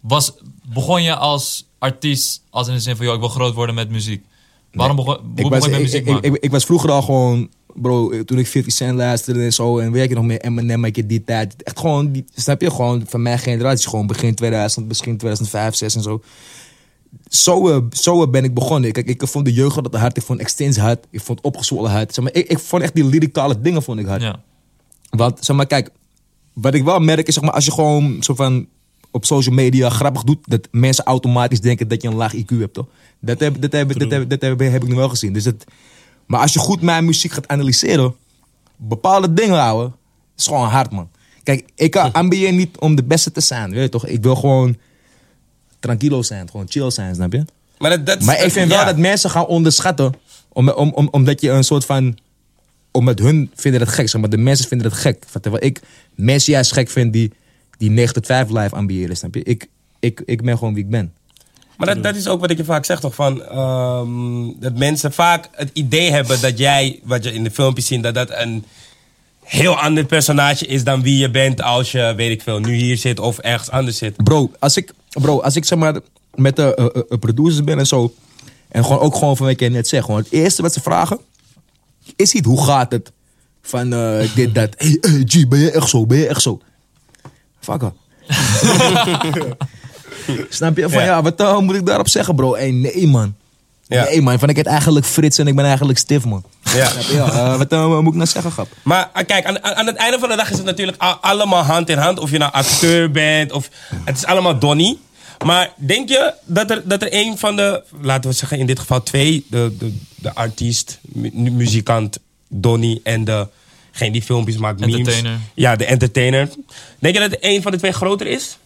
C: Was, begon je als artiest, als in de zin van... joh, ik wil groot worden met muziek. Waarom begon, hoe
D: ik
C: begon
D: was,
C: je met
D: ik,
C: muziek
D: ik, ik,
C: maken?
D: ik, ik was vroeger al gewoon, bro, eh, toen ik 50 Cent luisterde en zo, en weet je nog meer, Eminem, ik die tijd. Echt gewoon, die, snap je, gewoon van mijn generatie, gewoon begin 2000, misschien 2005, 6 en zo. Zo, eh, zo eh, ben ik begonnen. Kijk, ik vond de jeugd altijd hard, ik vond Extins hard, ik vond Opgezwollen hard. Zeg maar, ik, ik vond echt die lyricale dingen vond ik hard.
C: ja.
D: Want, zeg maar, kijk, wat ik wel merk is, zeg maar, als je gewoon zo van op social media grappig doet, dat mensen automatisch denken dat je een laag IQ hebt, toch? Dat heb, dat heb, dat heb, dat heb, heb ik nu wel gezien. Dus dat, maar als je goed mijn muziek gaat analyseren, bepaalde dingen houden, is gewoon hard, man. Kijk, ik kan- ambieer niet om de beste te zijn, weet je toch? Ik wil gewoon tranquilo zijn, gewoon chill zijn, snap je?
A: Maar, dat, dat,
D: Maar ik vind wel
A: ja.
D: dat mensen gaan onderschatten. Om, om, om, omdat je een soort van. Omdat hun vinden dat gek. Zeg maar de mensen vinden dat gek. Van Terwijl ik mensen juist gek vind die, die 9 tot 5 live ambiëren. Snap je? Ik, ik, ik ben gewoon wie ik ben.
A: Maar dat, dat is ook wat ik je vaak zeg, toch? Van, ehm, dat mensen vaak het idee hebben dat jij, wat je in de filmpjes ziet, dat dat een heel ander personage is dan wie je bent als je, weet ik veel, nu hier zit of ergens anders zit.
D: Bro, als ik, bro, als ik zeg maar met de eh, eh, eh, producers ben en zo. En gewoon ook gewoon van wat ik net zeg. Gewoon het eerste wat ze vragen. Is niet hoe gaat het? Van eh, dit, dat. Hey, eh, G, ben je echt zo? Ben je echt zo? Fucker. Snap je? Van ja,
A: Ja.
D: wat eh, moet ik daarop zeggen, bro? Hey, nee, man.
A: Ja.
D: Nee, man. Van ik heet eigenlijk Frits en ik ben eigenlijk Stif, man.
A: Ja.
D: Snap je? Ja, eh, wat eh, moet ik nou zeggen, grap?
A: Maar ah, kijk, aan, aan aan het einde van de dag is het natuurlijk a- allemaal hand in hand. Of je nou acteur bent, of het is allemaal Donnie. Maar denk je dat er, dat er een van de, laten we zeggen in dit geval twee, de, de, de artiest, mu- mu- muzikant Donnie en degene die filmpjes maakt, memes.
C: Entertainer.
A: Ja, de entertainer. Denk je dat een van de twee groter is?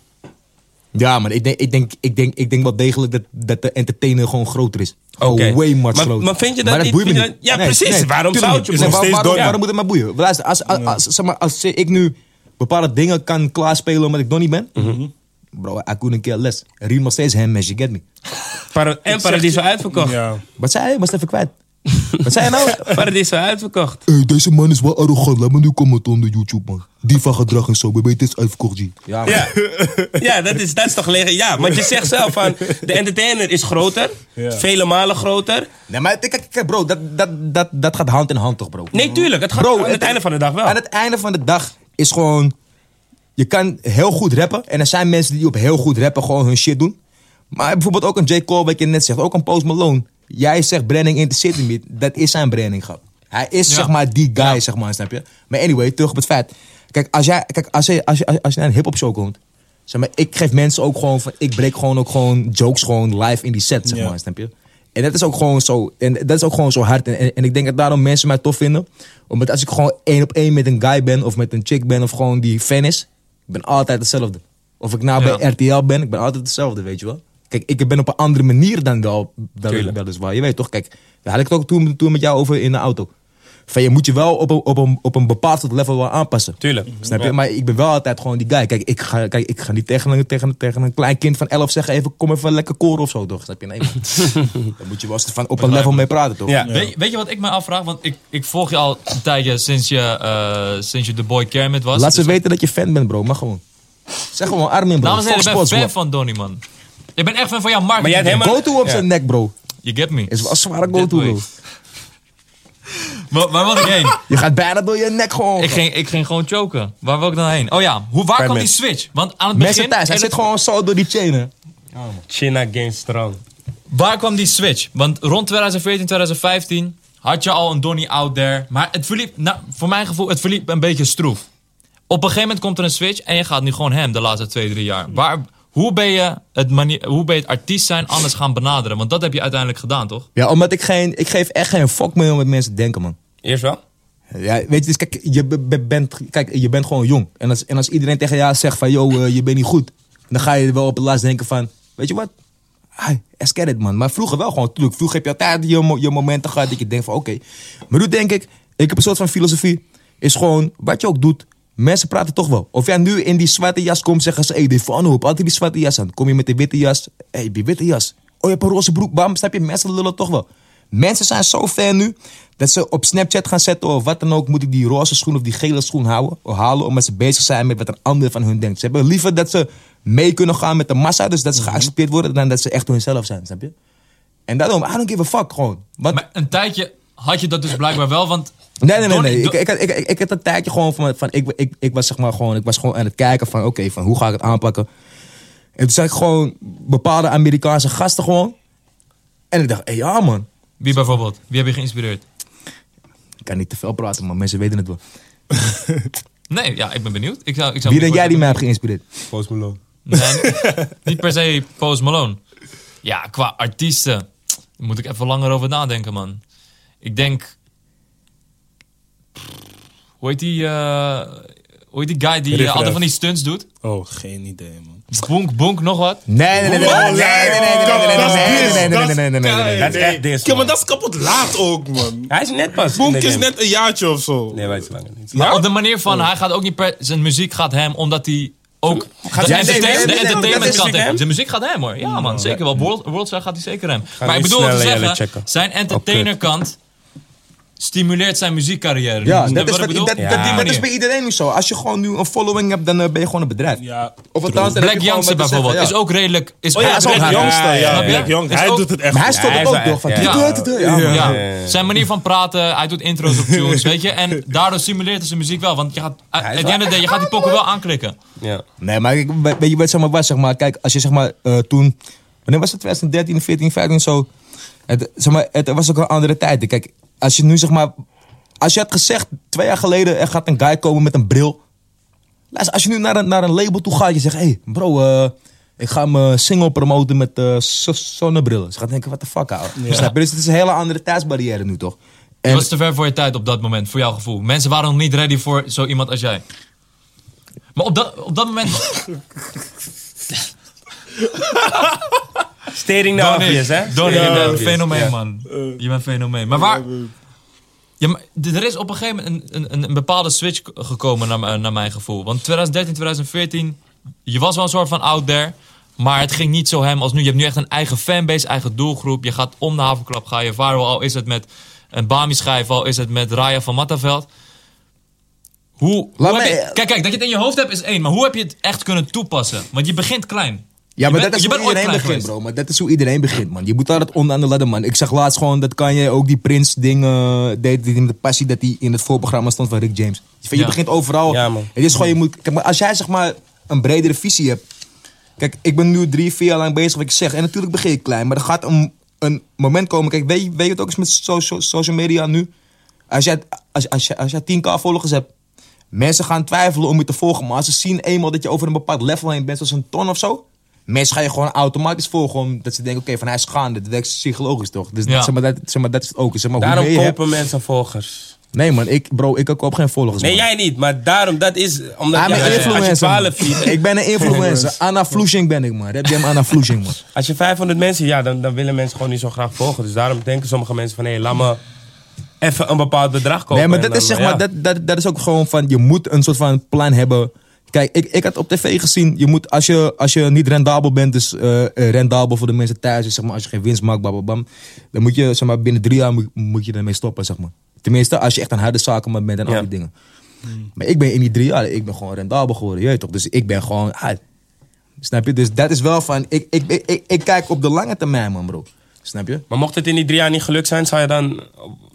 D: Ja, man. Ik denk, ik denk, ik denk, ik denk wel degelijk dat, dat de entertainer gewoon groter is.
A: Oké.
D: Oh, way much
A: Maar-
D: groter.
A: maar vind je dat
D: Maar
A: niet-
D: boeit me
A: vind je dat- Ja, precies. Waarom
D: tuurlijk
A: zou het je
D: niet.
A: boeien?
D: Waar-
A: Steeds
D: waarom,
A: door-
D: waarom moet het mij boeien? Luister, als, als, als, zeg maar, als ik nu bepaalde dingen kan klaarspelen omdat ik Donnie ben...
A: Mhm.
D: Bro, I couldn't care less. Riem nog steeds hem, man. You get me.
A: Para- en Paradiso uitverkocht.
E: Ja.
D: Wat zei je? Was het even kwijt. Wat zei je nou?
A: Paradiso uitverkocht.
I: Hey, deze man is wel arrogant. Laat me nu commenten onder YouTube, man. Die van gedrag en zo. We weten het is uitverkocht, G.
D: Ja, man.
A: Ja, ja dat, is, dat is toch leger. Ja, want je zegt zelf van de entertainer is groter, vele malen groter.
D: Nee, maar kijk, kijk, kijk, bro. Dat, dat, dat, dat gaat hand in hand toch, bro?
A: Nee, tuurlijk. Het gaat
D: Mhm. Bro,
A: aan het, einde van de dag wel.
D: Aan het einde van de dag is gewoon... Je kan heel goed rappen. En er zijn mensen die op heel goed rappen gewoon hun shit doen. Maar bijvoorbeeld ook een J. Cole, wat je net zegt. Ook een Post Malone. Jij zegt branding interesseert hem niet. Dat is zijn branding, grap. Hij is
C: Ja.
D: zeg maar die guy, zeg maar, snap je? Maar anyway, terug op het feit. Kijk, als jij, kijk, als je, als je, als je, als je naar een hip-hop show komt. Zeg maar, ik geef mensen ook gewoon van. Ik breek gewoon ook gewoon jokes gewoon live in die set, zeg
E: Ja.
D: maar, snap je? En dat is ook gewoon zo. En dat is ook gewoon zo hard. En, en, en ik denk dat daarom mensen mij tof vinden. Omdat als ik gewoon één op één met een guy ben of met een chick ben of gewoon die fan is, ik ben altijd hetzelfde. Of ik nou
C: Ja.
D: bij RTL ben, ik ben altijd hetzelfde, weet je wel. Kijk, ik ben op een andere manier dan wel, wel,
A: Tuurlijk.
D: weliswaar. Je weet toch, kijk, daar had ik het ook toen, toen met jou over in de auto. Van je moet je wel op een, op een, op een bepaald soort level wel aanpassen.
A: Tuurlijk.
D: Snap je? Maar ik ben wel altijd gewoon die guy. Kijk, ik ga, kijk, ik ga niet tegen, een- tegen, een- tegen een klein kind van 11 zeggen: even kom even lekker koren of zo, toch? Snap je? Nee, man. Daar moet je wel eens van op een level mee praten, toch?
A: Ja.
C: Weet, weet je wat ik me afvraag? Want ik, ik volg je al een tijdje sinds je, eh, sinds je The Boy Kermit was.
D: Laat ze
C: Dus-
D: weten dat je fan bent, bro. Mag gewoon. Zeg gewoon Armin, bro.
C: Dames en heren, ik
D: Fox
C: ben
D: Sports,
C: fan
D: bro.
C: van Donnie, man. Ik ben echt fan van jouw marketing.
A: Maar jij hebt helemaal-
D: Go to op
A: Ja.
D: zijn nek, bro.
C: You get me?
D: Is wel een zware go-to,
C: That way.
D: bro.
C: Waar, waar wil ik heen?
D: Je gaat bijna door je nek gewoon.
C: ik, ging, ik ging gewoon choken. Waar wil ik dan heen? Oh ja, hoe, waar kwam die switch? Want aan het begin...
D: Mensen thuis, hij
C: en
D: zit
C: het-
D: gewoon zo door die chainen.
A: China Game Strong.
C: Waar kwam die switch? Want rond 2014, 2015 had je al een Donny out there. Maar het verliep, nou, voor mijn gevoel, het verliep een beetje stroef. Op een gegeven moment komt er een switch en je gaat nu gewoon hem de laatste twee, drie jaar. Waar, hoe, ben je het manier, hoe ben je het artiest zijn anders gaan benaderen? Want dat heb je uiteindelijk gedaan, toch?
D: Ja, omdat ik geen... Ik geef echt geen fuck meer om wat mensen denken, man.
A: Eerst wel?
D: Ja, weet je, dus kijk, je be- be- bent, kijk, je bent gewoon jong. En als, en als iedereen tegen jou zegt van, yo, eh, je bent niet goed. Dan ga je wel op het laatst denken van, weet je wat? Ai, Esket it, man. Maar vroeger wel gewoon, natuurlijk. Vroeger heb je altijd je, mo- je momenten gehad dat je denkt van, oké. Maar nu denk ik, ik heb een soort van filosofie. Is gewoon, wat je ook doet, mensen praten toch wel. Of jij nu in die zwarte jas komt, zeggen ze, hé, hey, Defano, heb altijd die zwarte jas aan. Kom je met die witte jas, hé, hey, die witte jas. Oh, je hebt een roze broek, bam, snap je? Mensen lullen toch wel. Mensen zijn zo ver nu dat ze op Snapchat gaan zetten of wat dan ook. Moet ik die roze schoen of die gele schoen houden, of halen? Omdat ze bezig zijn met wat een ander van hun denkt. Ze hebben liever dat ze mee kunnen gaan met de massa, dus dat
C: Mhm.
D: ze geaccepteerd worden, dan dat ze echt hunzelf zijn, snap je? En daarom, I don't give a fuck gewoon. Want,
C: Maar een tijdje had je dat dus blijkbaar wel, want...
D: nee, nee, nee.
C: Donny-
D: nee. Ik,
C: Do-
D: ik, ik, ik, ik had een tijdje gewoon van, van ik, ik, ik was zeg maar gewoon, ik was gewoon aan het kijken van, oké, van hoe ga ik het aanpakken? En toen zag ik gewoon bepaalde Amerikaanse gasten gewoon. En ik dacht, hé, ja man.
C: Wie bijvoorbeeld? Wie heb je geïnspireerd?
D: Ik kan niet te veel praten, maar mensen weten het wel.
C: Nee, ja, ik ben benieuwd. Ik zou, ik zou
D: Wie denk jij die mij hebt geïnspireerd?
B: Post Malone.
C: Nee, niet per se Post Malone. Ja, qua artiesten daar moet ik even langer over nadenken, man. Ik denk... Hoe heet die, eh, hoe heet die guy die eh,
B: Riff
C: altijd
B: Raff.
C: van die stunts doet?
E: Oh, geen idee, man.
C: Bonk, bonk, nog wat?
D: Nee, nee, nee, nee, nee, nee, nee, nee, nee, nee, nee, nee, nee, nee, nee, nee, nee, nee, nee, nee.
A: Dat is echt dis,
E: Ja, maar
A: man.
E: dat is kapot laat ook, man.
A: Hij is net pas. in
E: Boenk
A: de
E: is
A: game.
E: net een jaartje of zo.
A: Nee, wij is langer niet.
C: Maar op de manier van, hij gaat ook niet per... Zijn muziek gaat hem, omdat hij ook... de
A: nee, nee,
C: entertain-
A: nee,
C: de
A: nee, nee,
C: entertainment
A: dat is
C: kant
A: hem.
C: heeft. Zijn muziek gaat hem, hoor. Ja, man, zeker wel. World, Worldstar gaat hij zeker hem. Maar ik
A: nu
C: bedoel, te
A: snel jullie
C: zeggen,
A: checken.
C: zijn entertainer kant stimuleert zijn muziekcarrière.
D: Ja,
C: Snap je
D: dat is,
C: wat ik
D: wat,
C: bedoel?
D: dat, dat,
A: Ja.
D: dat is bij iedereen nu zo. Als je gewoon nu een following hebt, dan eh, ben je gewoon een bedrijf.
E: Ja.
D: Of althans, dan heb je
C: Black
D: gewoon
C: Youngster
D: wat te
C: bijvoorbeeld
D: zeggen,
C: is ook redelijk... Is
E: Oh ja,
C: ook
D: is ook
E: Black
D: hard.
C: redelijk-
E: Youngster,
B: Ja,
E: ja.
C: ja, ja.
E: Black Young.
C: Is
E: Hij
C: ook-
E: doet het
D: Maar hij
E: echt.
D: stond
A: hij is
D: er ook
A: wel
D: door. Van,
A: echt, ja.
D: tudu, tudu, ja, man.
C: Ja,
A: ja, ja.
C: zijn manier van praten, hij doet intro's op tunes, weet je. En daardoor simuleert hij zijn muziek wel, want je gaat, at the
A: is
C: end
A: wel-
C: of the day, je gaat die pokken wel aanklikken.
A: Ja.
D: Nee, maar ik, weet weet je wat zeg maar was? Zeg maar, kijk, als je zeg maar eh, toen... Wanneer was het? 2013, 14, 15 zo. Het, zeg maar, het was ook een andere tijd. Kijk, als je nu zeg maar... Als je had gezegd twee jaar geleden, er gaat een guy komen met een bril. Luister, als je nu naar een, naar een label toe gaat, je zegt... Hé, hey, bro, eh, ik ga mijn single promoten met eh, zo- zonnebrillen. Ze gaan denken, wat de fuck, ouwe. Snap je? Dus het is een hele andere tijdsbarrière nu, toch?
C: Het
D: En-
C: was te ver voor je tijd op dat moment, voor jouw gevoel. Mensen waren nog niet ready voor zo iemand als jij. Maar op dat, op dat moment...
A: Staring now
C: Donnie,
A: obvious, nou hè? Staring
C: Donnie, je
A: now
C: bent een
A: obvious.
C: fenomeen, man. Je bent een fenomeen. Maar waar... Ja, maar d- er is op een gegeven moment een, een, een bepaalde switch k- gekomen naar, m- eh, naar mijn gevoel. Want 2013, 2014, je was wel een soort van out there. Maar het ging niet zo hem als nu. Je hebt nu echt een eigen fanbase, eigen doelgroep. Je gaat om de havenklap, ga je viral. Al is het met een Bami-schijf, al is het met Raya van Mattaveld. Hoe, hoe
D: Laat
C: heb
D: mij-
C: je- kijk, kijk, dat je het in je hoofd hebt is één. Maar hoe heb je het echt kunnen toepassen? Want je begint klein.
D: Ja, maar
C: je bent-
D: dat
C: je
D: is
C: bent
D: hoe
C: ooit
D: iedereen
C: klein
D: begint,
C: geweest.
D: bro. Maar dat is hoe iedereen begint, man. Je moet altijd onderaan de ladder, man. Ik zag laatst gewoon dat Kanye ook die Prince-ding eh, deed. Die met de passie dat hij in het voorprogramma stond van Rick James. Je,
C: Ja.
D: je begint overal.
A: Ja, man.
D: Het is gewoon, je moet, kijk, maar als jij zeg maar een bredere visie hebt. Kijk, ik ben nu drie, vier jaar lang bezig wat ik zeg. En natuurlijk begin ik klein, maar er gaat een, een moment komen. Kijk, weet, je- weet je het ook eens met social, social media nu? Als jij, als, als, jij- als jij 10k volgers hebt, mensen gaan twijfelen om je te volgen. Maar als ze zien eenmaal dat je over een bepaald level heen bent, zoals een ton of zo. Mensen gaan je gewoon automatisch volgen. Omdat ze denken, oké, van hij is gaande. Dat werkt psychologisch toch? Dus
C: Ja.
D: dat, zeg maar, dat, zeg maar, dat is het ook. Zeg maar, hoe
A: Daarom
D: meer je hebt-
A: kopen mensen volgers.
D: Nee man, ik, bro, ik koop geen volgers.
A: Nee,
D: man.
A: jij niet, maar daarom, dat is... Omdat
D: Ah,
A: ja,
D: ik
A: als, je,
D: ben
A: als je
D: influencer.
A: 12
D: man.
A: ziet,
D: ik ben een influencer. Anna Floeshing ben ik, man. Heb je hem Anna Floeshing, man?
A: als je 500 mensen... Ja, dan, dan willen mensen gewoon niet zo graag volgen. Dus daarom denken sommige mensen van... Hé, laat me even een bepaald bedrag kopen.
D: Nee, maar
A: en
D: dat
A: dan-
D: is zeg
A: ja.
D: maar, dat, dat, dat is ook gewoon van, je moet een soort van plan hebben. Kijk, ik, ik had op tv gezien, je moet, als je, als je niet rendabel bent, dus eh, eh, rendabel voor de mensen thuis, is, zeg maar, als je geen winst maakt, bababam, dan moet je, zeg maar, binnen drie jaar moet, moet je ermee stoppen, zeg maar. Tenminste, als je echt een harde zakenman bent en al
A: Ja.
D: die dingen. Maar ik ben in die drie jaar, ik ben gewoon rendabel geworden, je weet toch? Dus ik ben gewoon, ah, snap je? Dus dat is wel van, ik, ik, ik, ik, ik kijk op de lange termijn, man, bro. Snap je?
A: Maar mocht het in die drie jaar niet gelukt zijn, zou je dan,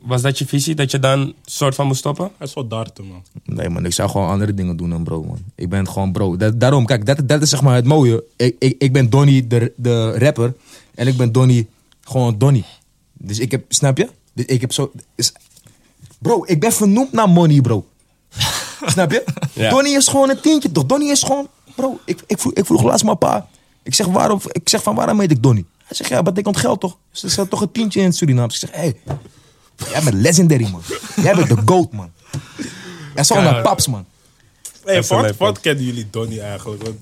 A: was dat je visie? Dat je dan soort van moest stoppen?
E: Hij is wel darten, man.
D: Nee man, ik zou gewoon andere dingen doen dan bro man. Ik ben gewoon bro. Dat, daarom, kijk, dat, dat is zeg maar het mooie. Ik, ik, ik ben Donnie de, de rapper en ik ben Donnie gewoon Donnie. Dus ik heb, snap je? Dus ik heb zo... is- bro, ik ben vernoemd naar money bro. snap je?
A: Ja.
D: Donnie is gewoon een tientje toch? Donnie is gewoon... Bro, ik, ik, vroeg, ik vroeg laatst mijn pa. Ik zeg, waarom, ik zeg van waarom heet ik Donnie? Hij zegt, ja, betekent geld toch? Dus er staat toch een tientje in het Surinaams. Ik zeg, hé, hey, jij bent legendary man. Jij bent de goat man. Hij zou naar paps man.
E: Hey,
A: een
E: wat,
A: leuk
E: wat kennen jullie Donnie eigenlijk? Want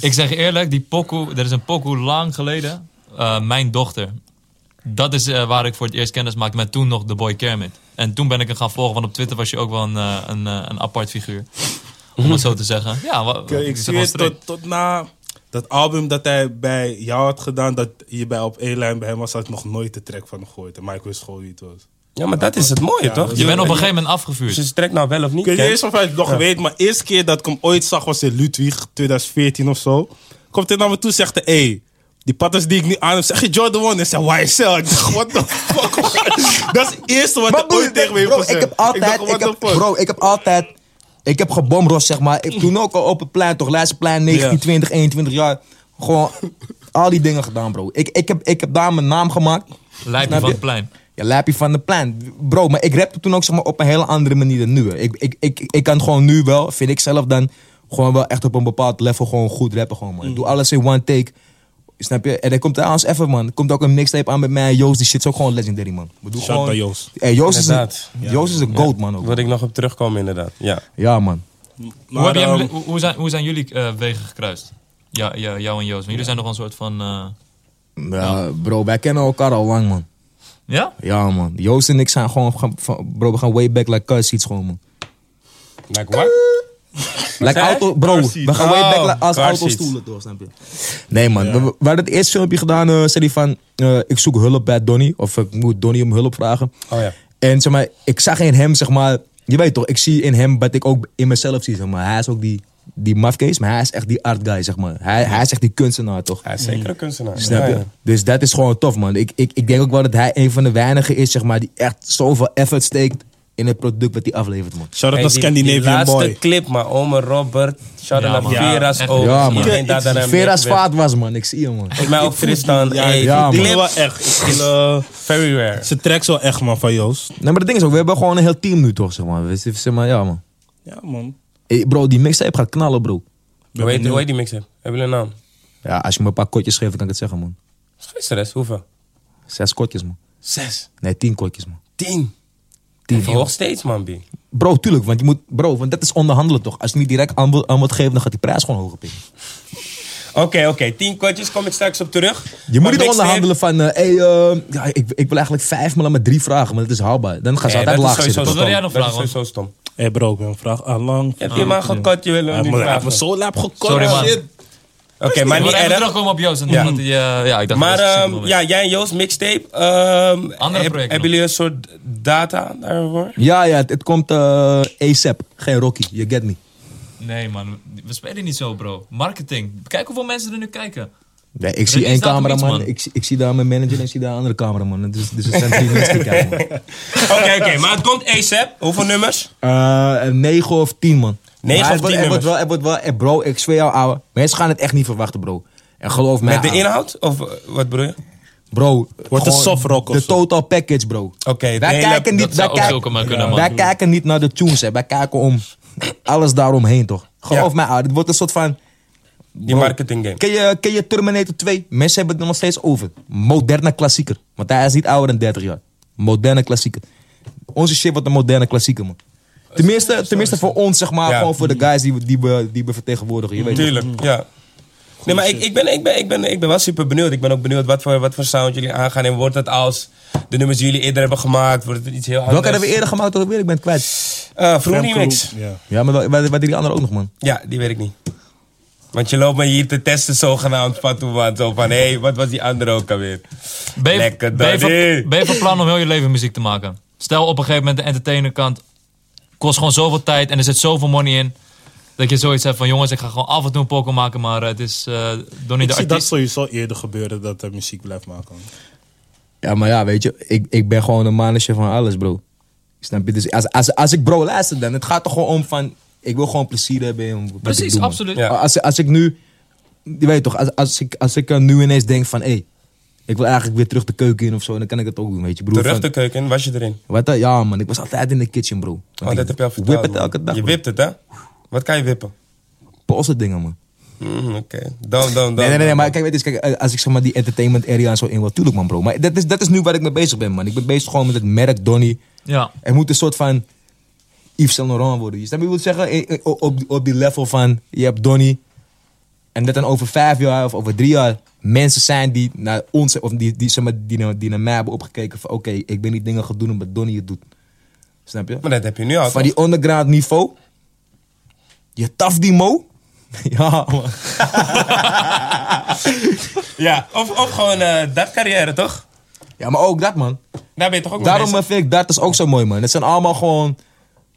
C: Ik zeg eerlijk, die pokoe, er is een pokoe lang geleden. eh, mijn dochter. Dat is eh, waar ik voor het eerst kennis maakte met toen nog de boy Kermit. En toen ben ik hem gaan volgen, want op Twitter was je ook wel een, eh, een, eh, een apart figuur. Om het zo te zeggen. Ja, wa-
E: eh, ik,
C: het
E: ik
C: is
E: zie
C: gewoon
E: het
C: straight.
E: tot, tot na dat album dat hij bij jou had gedaan, dat je bij op één lijn bij hem was, had ik nog nooit de track van hem gehoord. En Michael wist gewoon wie het was.
A: Ja, maar dat is het mooie, toch?
C: Je bent op een gegeven moment afgevuurd.
A: Als je trekt nou wel of niet.
E: Ik weet niet
A: kent.
E: eens of hij het nog weet, maar de eerste keer dat ik hem ooit zag was in Ludwig, 2014 of zo. Komt hij naar me toe en zegt hij, hey, die patters die ik nu aan heb, zeg je Jordan 1? En zei YSL. Ik dacht, what the fuck, man? Dat is het eerste wat
D: Maar
E: hij
D: broer,
E: ooit tegen me heeft
D: bro,
E: gezegd.
D: ik heb altijd,
E: dacht,
D: ik
E: what
D: heb,
E: the fuck?
D: bro, ik heb altijd, ik heb gebomrost zeg maar. Ik, toen ook al op het plein, toch, laatste plein, 19,
E: Ja.
D: 20, 21 jaar. Gewoon al die dingen gedaan, bro. Ik, ik, heb, ik heb daar mijn naam gemaakt.
C: Lijp je
D: Snap
C: van
D: je?
C: het plein.
D: Ja, lappie van de plein. Bro, maar ik rapte toen ook zeg maar, op een hele andere manier dan nu. hè. Ik, ik, ik, ik kan gewoon nu wel, vind ik zelf dan, gewoon wel echt op een bepaald level gewoon goed rappen. Gewoon, man. Ik
E: Mhm.
D: doe alles in one take. Snap je? En er komt trouwens even, man. Er komt ook een mixtape aan met mij en Joost. Die shit is ook gewoon legendary, man. We doen
E: Shout
D: gewoon...
E: naar Joost.
D: Hey, Joost, is een,
A: Inderdaad.
D: Joost is een goat, man. Ook.
A: Wil ik nog op terugkomen, inderdaad. Ja.
D: Ja, man.
C: Hoe, heb
E: Maar,
C: je hem-
E: ehm,
C: hoe- hoe zijn, hoe zijn jullie eh, wegen gekruist? Ja, ja, jou en Joost. Want jullie zijn nog een soort van... eh,
D: Ja, bro, wij kennen elkaar al lang, man.
C: Ja?
D: Ja, man. Joost en ik zijn gewoon... gaan- van- Bro, we gaan way back like us iets gewoon, man.
A: Like what?
D: Like
A: zei
D: auto, bro, we gaan way back
A: Oh,
D: like als
A: car
D: autostoelen door, snap je? Nee man, we, we hadden het eerste filmpje gedaan, eh, zei hij van, eh, ik zoek hulp bij Donnie, of ik moet Donnie om hulp vragen.
A: Oh ja.
D: En zeg maar, ik zag in hem, zeg maar, je weet toch, ik zie in hem wat ik ook in mezelf zie, zeg maar. Hij is ook die, die mafkees, maar hij is echt die art guy, zeg maar. Hij, hij is echt die kunstenaar, toch?
A: Hij is zeker een kunstenaar.
D: Snap je?
A: Ja, ja.
D: Dus dat is gewoon tof, man. Ik, ik, ik denk ook wel dat hij een van de weinigen is, zeg maar, die echt zoveel effort steekt in het product wat hij aflevert, man.
E: Shout out
A: Hey, die-
E: naar
A: Die
E: Scandinavian
A: laatste
E: Boy.
A: clip, maar oma Robert, shout
C: Ja,
A: out
C: man.
A: naar Vera's
C: Ja,
A: ook.
D: Ja, man.
A: Iedereen daar daaraan
D: Vera's
A: meegewerkt.
D: vaat was, man. Ik zie hem, man.
A: Volgens mij ook Tristan. Ja,
D: ja,
E: Die
D: man.
E: is wel echt. Ik wil, eh,
A: Very rare.
E: Zijn tracks wel echt, man, van Joost.
D: Nee, maar het ding is ook, we hebben gewoon een heel team nu toch, zeg maar. We- Zeg maar, ja, man.
E: Ja, man.
D: Hey, bro, die mixtape gaat knallen, bro.
A: Hoe heet, hoe heet die mixtape? Hebben jullie een naam?
D: Ja, als je me een paar kotjes geeft, dan kan ik het zeggen, man.
A: Gisteren, hoeveel?
D: Zes kotjes, man.
A: Zes.
D: Nee, tien kotjes, man.
A: Tien.
D: Tien.
A: Verhoog steeds, man, B.
D: Bro, tuurlijk, want je moet, bro, want dat is onderhandelen toch. Als je niet direct aan wil- aan wordt geven, dan gaat die prijs gewoon hoger pikken.
A: Oké, oké. Tien kwartjes, kom ik straks op terug.
D: Je
A: Maar
D: moet niet
A: mixtape-
D: onderhandelen van, eh, hey, eh, ja, ik, ik wil eigenlijk vijf, maar laat me drie vragen, maar dat is haalbaar. Dan gaan ze
A: Nee,
D: altijd
A: dat is
D: laag
A: sowieso
D: zitten.
A: stom.
C: Wat wil jij nog
A: Dat is
C: vragen,
A: sowieso stom.
E: Hé bro, ik ben een vraag aan lang.
A: Heb
C: Ah,
A: je maar gekort, je wil
E: Hij
D: Ah,
A: hem
E: heeft
A: nu
E: me- hij heeft me
A: vragen.
E: zo laap gekort.
C: Sorry, man.
E: shit.
A: Oké, maar
C: Ik wil
A: niet
C: even
A: erg.
C: terugkomen op Joost. en
A: Ja.
C: omdat hij, eh, ja, ik dacht,
A: Maar
C: dat was een
A: ehm,
C: simpel moment.
A: ja, jij en Joost, mixtape. ehm,
C: Andere
A: heb-
C: projecten nog.
A: Hebben jullie een soort data daarvoor?
D: Ja, ja, het, het komt eh ASAP. Geen Rocky, you get me.
C: Nee, man. We spelen niet zo, bro. Marketing. Kijk hoeveel mensen er nu kijken.
D: Nee, ik zie één
C: staat op iets,
D: cameraman,
C: man.
D: ik, zie- ik zie daar mijn manager en ik zie daar een andere cameraman. Dus, dus het zijn drie mensen die kijken, man.
A: Oké, oké, maar het komt ASAP. Hoeveel nummers?
D: Eh, een 9 of 10, man.
A: Negen
D: Maar
A: of
D: het wordt-
A: tien
D: het wordt wel, het wordt wel, eh, Bro, ik zweer jou, ouwe. Mensen gaan het echt niet verwachten, bro. En geloof mij.
A: Met de
D: ouwe.
A: inhoud? Of eh, wat bedoel je?
D: Bro,
E: Wordt een
D: gewoon
E: soft rock of
D: De
E: zo.
D: total package, bro.
A: Oké, de
D: wij
A: hele-
D: kijken niet,
C: dat zou
D: wij,
C: ook
D: kijk-
C: zulke maar kunnen, man.
D: wij kijken niet naar de tunes, hè. Wij kijken om alles daaromheen, toch? Geloof
A: Ja.
D: mij, ouwe. Het wordt een soort van...
A: Die marketing game.
D: Oh. Ken je, ken je Terminator 2? Mensen hebben het er nog steeds over. Moderne klassieker. Want hij is niet ouder dan 30 jaar. Moderne klassieker. Onze shit wordt een moderne klassieker, man. Tenminste, tenminste voor ons, zeg maar.
A: Ja.
D: Gewoon voor de guys die we, die we, die we vertegenwoordigen. Je weet toch?
A: Tuurlijk, ja. Nee, maar ik, ik, ben, ik, ben, ik, ben, ik ben wel super benieuwd. Ik ben ook benieuwd wat voor, wat voor sound jullie aangaan. En wordt het als de nummers die jullie eerder hebben gemaakt, wordt het iets heel anders?
D: Welke hebben we eerder gemaakt? Dat ik weet, ik ben het kwijt.
A: Eh, Vroom
E: Remco,
A: Remix.
E: Ja.
D: Ja, maar wel- wat, wat die andere ook nog, man.
A: Ja, die weet ik niet. Want je loopt me hier te testen zogenaamd, Fatouman. Zo van, hé, wat was die andere ook alweer?
C: Ben je,
A: Lekker,
C: ben, je
A: Danny.
C: van, ben je van plan om heel je leven muziek te maken? Stel op een gegeven moment de entertainerkant kost gewoon zoveel tijd en er zit zoveel money in. Dat je zoiets hebt van jongens, ik ga gewoon af en toe een poker maken, maar eh, het is eh door niet de
E: Ik zie dat
C: artiest.
E: sowieso eerder gebeuren dat hij muziek blijft maken.
D: Ja, maar ja, weet je, ik, ik ben gewoon een mannetje van alles, bro. Snap je? Dus als, als, als ik bro luister dan, het gaat er gewoon om van... Ik wil gewoon plezier hebben in wat ik
C: Precies,
D: doe, man.
C: absoluut.
A: Ja.
D: Als, als ik nu... Je weet toch, als, als ik, als ik eh, nu ineens denk van... Hé, ik wil eigenlijk weer terug de keuken in of zo, dan kan ik dat ook doen, weet je, broer.
A: Terug
D: Van-
A: de keuken, was je erin?
D: Wat dan? Ja, man, ik was altijd in de kitchen, bro.
A: Oh,
D: ik
A: dat heb je al verteld.
D: Whip het
A: man.
D: elke dag,
A: Je
D: bro.
A: wipt het, hè? Wat kan je wippen?
D: Poolse dingen, man.
A: Mm, Oké, dan, dan, dan.
D: Nee, nee, nee, nee, maar kijk, weet eens, kijk, eh, als ik zeg maar die entertainment area en zo in wil, tuurlijk man bro. Maar dat is, dat is nu waar ik mee bezig ben, man. Ik ben bezig gewoon met het merk Donny.
C: Ja.
D: Er moet een soort van Yves Saint Laurent worden. Je snapt wat ik wil zeggen? Eh, eh, Op, op, op die level van, je hebt Donny. En dat dan over vijf jaar of over drie jaar mensen zijn die naar ons, of die, die, zeg maar, die, naar- die naar mij hebben opgekeken van, oké, ik ben die dingen gaan doen omdat Donny het doet. Snap je?
A: Maar dat heb je nu al.
D: Van die underground niveau. Je taf die mo. ja, man.
A: Ja, of, of gewoon eh, dat carrière, toch?
D: Ja, maar ook dat, man.
A: Daar ben je toch ook mee
D: Daarom eh,
A: bezig?
D: vind ik dat is ook zo mooi, man. Het zijn allemaal gewoon...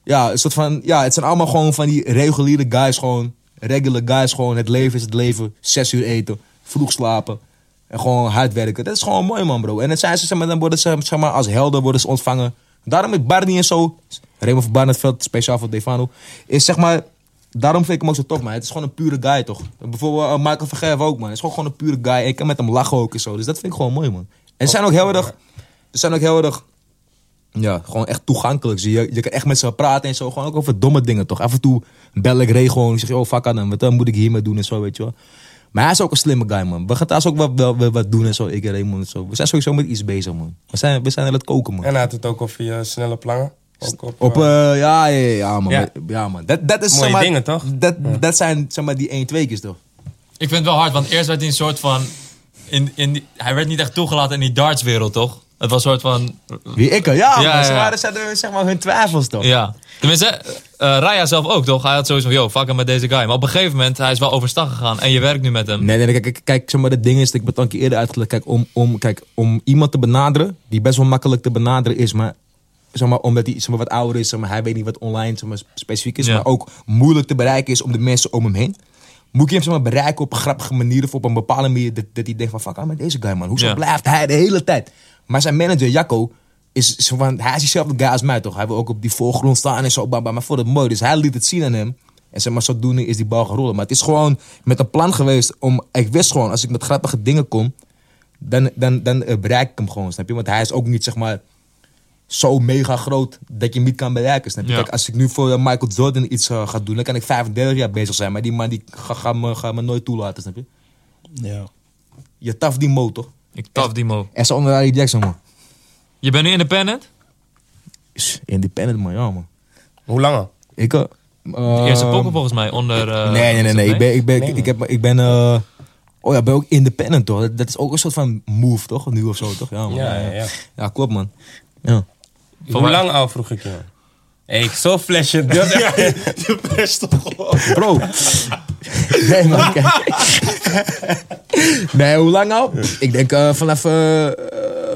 D: Ja, een soort van... Ja, het zijn allemaal gewoon van die reguliere guys gewoon. Regular guys gewoon. Het leven is het leven. Zes uur eten. Vroeg slapen. En gewoon hard werken. Dat is gewoon mooi, man, bro. En dan zijn ze, zeg maar, dan worden ze, zeg maar, als helden worden ze ontvangen. Daarom is Barney en zo... Raymond van Barnetveld, speciaal voor Defano. Is, zeg maar... Daarom vind ik hem ook zo top, man. Het is gewoon een pure guy, toch? Bijvoorbeeld eh, Michael van Gerwen ook, man. Het is gewoon, gewoon een pure guy. Ik kan met hem lachen ook en zo. Dus dat vind ik gewoon mooi, man. En ze zijn ook heel erg... Ze zijn ook heel erg... Ja, gewoon echt toegankelijk. Zie Je, je kan echt met ze praten en zo. Gewoon ook over domme dingen, toch? Af en toe bel ik Ray gewoon. Ik zeg, oh, fuck aan hem. Wat dan moet ik hiermee doen en zo, weet je wel. Maar hij is ook een slimme guy, man. We gaan thuis ook wat, wel- wel- wat doen en zo. Ik en Raymond en zo. We zijn sowieso met iets bezig, man. We zijn, we zijn aan het koken, man.
A: En hij had het ook over je snelle plangen. Ook op,
D: Op,
A: eh,
D: eh, ja, ja, ja, ja, man.
A: Ja.
D: Ja, man. Dat, dat is,
A: Mooie
D: zeg maar,
A: dingen, toch?
D: Dat, dat zijn, zeg maar, die 1 2 keer toch?
C: Ik vind het wel hard, want eerst werd hij een soort van... In, in die- hij werd niet echt toegelaten in die dartswereld, toch? Het was een soort van...
D: Wie ik er? Ja,
C: Ja,
D: man. Ze
C: ja.
D: waren, ze hadden, zeg maar, hun twijfels, toch?
C: Ja. Tenminste, eh, Raya zelf ook, toch? Hij had sowieso van, yo, fuck hem met deze guy. Maar op een gegeven moment, hij is wel overstag gegaan. En je werkt nu met hem.
D: Nee, nee, nee, kijk, kijk, kijk, zeg maar, het ding is, ik heb het al een keer eerder uitgelegd. Kijk om, om, kijk, om iemand te benaderen, die best wel makkelijk te benaderen is, maar, zeg maar omdat hij zeg maar, wat ouder is, zeg maar, hij weet niet wat online zeg maar, specifiek is,
C: Ja.
D: maar ook moeilijk te bereiken is om de mensen om hem heen. Moet je hem zeg maar, bereiken op een grappige manier of op een bepaalde manier dat, dat hij denkt van, fuck, aan met deze guy, man. Hoezo
C: Ja.
D: blijft hij de hele tijd? Maar zijn manager, Jacco, is, is van, hij is diezelfde guy als mij, toch? Hij wil ook op die voorgrond staan en zo, bam, bam. maar voor het mooi. Dus hij liet het zien aan hem. En zeg maar, zodoende is die bal gaan rollen. Maar het is gewoon met een plan geweest om... Ik wist gewoon, als ik met grappige dingen kom... dan, dan, dan eh, bereik ik hem gewoon, snap je? Want hij is ook niet, zeg maar, zo mega groot dat je hem niet kan bereiken, snap je?
C: Ja.
D: Kijk, als ik nu voor eh, Michael Jordan iets eh, ga doen... dan kan ik 35 jaar bezig zijn. Maar die man die gaat ga me, ga me nooit toelaten, snap je?
E: Ja.
D: Je taf die motor.
C: Ik taf die mo.
D: En zo onder Harry Jackson, man.
C: Je bent nu independent?
D: Is Independent, man. Ja, man.
A: Hoe lang al?
D: Ik... eh,
C: De eerste
D: ehm,
C: pokken volgens mij onder... eh,
D: nee, nee, nee, nee. Ik ben, ik ben,
A: Nee,
D: ik, ik heb, ik ben, eh, oh ja, ik ben ook independent toch? Dat, dat is ook een soort van move toch? Nu of zo toch? Ja, man.
A: Ja, ja, ja.
D: Ja, klopt man. Ja.
A: Hoe lang al vroeg ik je? man? Hey, ik zo flesje. Dat is echt-
E: Je best toch wel.
D: Bro. nee man, kijk. nee, hoe lang al? Ik denk eh, vanaf eh, eh,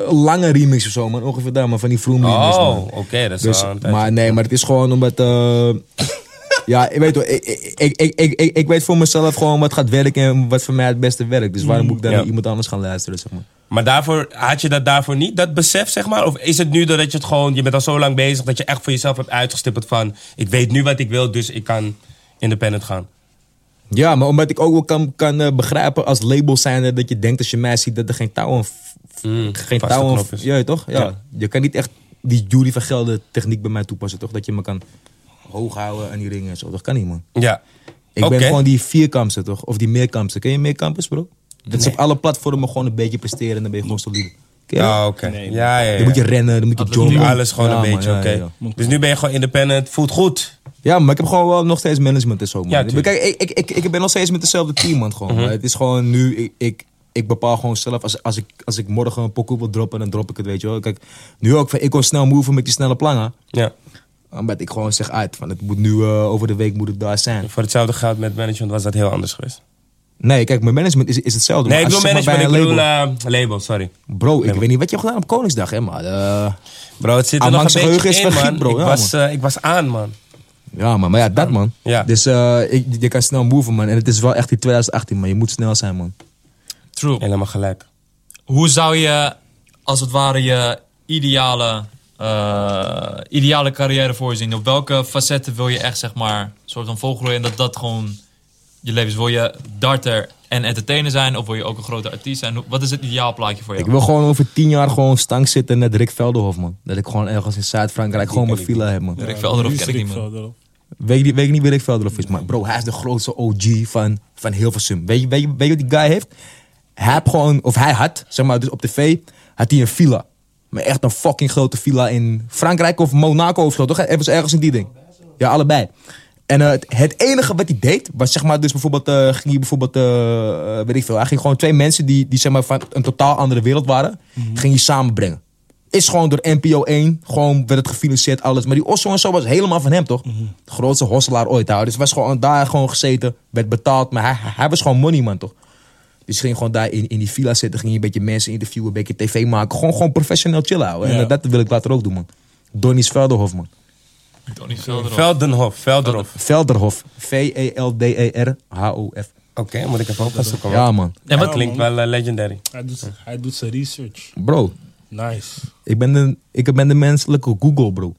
D: lange remix of zo man. Ongeveer daar man, van die vroom remix man.
A: Oh, oké, dat is
D: Dus,
A: al een tijd.
D: maar nee, maar het is gewoon omdat. eh, ja, ik weet wel, ik, ik, ik, ik, ik, ik weet voor mezelf gewoon wat gaat werken en wat voor mij het beste werkt. Dus waarom moet ik dan
A: Ja.
D: naar iemand anders gaan luisteren, zeg maar.
A: Maar daarvoor, had je dat daarvoor niet, dat besef, zeg maar? Of is het nu doordat je het gewoon, je bent al zo lang bezig, dat je echt voor jezelf hebt uitgestippeld van, ik weet nu wat ik wil, dus ik kan independent gaan.
D: Ja, maar omdat ik ook wel kan, kan eh, begrijpen als label zijnde dat je denkt als je mij ziet dat er geen touw aan... f-
A: Mm,
D: geen
A: vaste
D: touw aan...
A: knop is.
D: Ja, toch? Ja.
A: Ja.
D: Je kan niet echt die Jury van Gelder techniek bij mij toepassen, toch? Dat je me kan hoog houden aan die ringen en zo. Dat kan niet, man.
A: Ja.
D: Ik
A: Oké.
D: ben gewoon die vierkampster, toch? Of die meerkampster. Ken je meerkampers, bro? Dat ze op alle platformen gewoon een beetje presteren en dan ben je gewoon solide. Ken je dat?
A: Ah, oké. Ja, ja, ja.
D: Dan moet je rennen, dan moet je
C: Atletiek.
D: joggen.
A: Alles gewoon
D: Ja,
A: een
D: man,
A: beetje,
D: ja,
A: oké.
D: ja, ja.
A: Dus nu ben je gewoon independent, voelt goed.
D: Ja, maar ik heb gewoon wel nog steeds management en zo. Man.
A: Ja,
D: Ik ben-
A: tuurlijk. Mhm.
D: Kijk, ik, ik, ik, ik ben nog steeds met dezelfde team, man. Gewoon. Maar Het is gewoon nu, ik, ik, ik bepaal gewoon zelf. Als, als, ik, als ik morgen een pokoe wil droppen, dan drop ik het, weet je wel. Kijk, nu ook, van, ik wil snel move met die snelle plannen.
A: Ja.
D: Omdat ik gewoon zeg uit, van, het moet nu eh, over de week moet het daar zijn.
A: Voor hetzelfde geld met management was dat heel anders geweest.
D: Nee, kijk, mijn management is, is hetzelfde.
A: Nee, ik
D: Maar
A: bedoel
D: als je, zeg
A: management,
D: maar,
A: ik
D: bij een
A: bedoel
D: label-
A: eh, label, sorry.
D: Bro, ik weet niet wat je hebt gedaan op Koningsdag, hè, maar... eh,
A: Bro, het zit er
D: Ah,
A: nog een
D: Max
A: beetje
D: geheugen is
A: in,
D: vergiet,
A: man.
D: bro.
A: ik,
D: Ja,
A: was, eh, ik was aan, man.
D: ja, man, maar ja, dat, man.
A: Ja.
D: Dus eh, ik, je kan snel move, man. En het is wel echt die 2018, man. Je moet snel zijn, man.
C: True.
A: Helemaal gelijk.
C: Hoe zou je als het ware je ideale, eh, ideale carrière voorzien? Op welke facetten wil je echt, zeg maar, een soort van volgroeien en dat dat gewoon je leven is? Wil je darter en entertainer zijn of wil je ook een grote artiest zijn? Hoe- Wat is het ideaal plaatje voor jou?
D: Ik wil gewoon over tien jaar gewoon stank zitten net Rick Velderhof, man. Dat ik gewoon ergens in Zuid-Frankrijk gewoon mijn villa heb, man.
C: Rick Velderhof ken ik niet, man.
D: Weet, ik niet- weet ik niet wie Rick Velderhof is, maar bro, hij is de grootste OG van, van Hilversum. Weet je, weet, je, weet je wat die guy heeft? Hij heeft gewoon, of hij had, zeg maar, dus op tv, had hij een villa. Maar echt een fucking grote villa in Frankrijk of Monaco of zo, toch? Ergens, ergens in die ding. Ja, allebei. En eh, het, het enige wat hij deed, was zeg maar, dus bijvoorbeeld, eh, ging hij bijvoorbeeld, eh, weet ik veel, hij ging gewoon twee mensen die, die zeg maar van een totaal andere wereld waren, ging hij samenbrengen. Is gewoon door NPO 1. Gewoon werd het gefinancierd, alles. Maar die Osso en zo was helemaal van hem, toch?
A: Mhm.
D: De grootste hosselaar ooit daar. Dus was gewoon daar gewoon gezeten. Werd betaald. Maar hij, hij was gewoon money, man, toch? Dus ging gewoon daar in, in die villa zitten. Ging je een beetje mensen interviewen. Een beetje tv maken. Gewoon, gewoon professioneel chillen houden. En
E: Ja.
D: dat, dat wil ik later ook doen, man. Donnie's Velderhof, man.
C: Donnie Velderhof.
A: Veldenhof, Velderhof.
D: Velderhof. E V-E-L-D-E-R-H-O-F.
A: Oké, moet ik even oppassen komen.
D: Ja, man.
C: En wat
A: Dat klinkt wel eh, legendary.
E: Hij doet, hij doet zijn research.
D: Bro,
E: Nice.
C: Mm,
D: ik ben de, ik ben de menselijke Google, bro.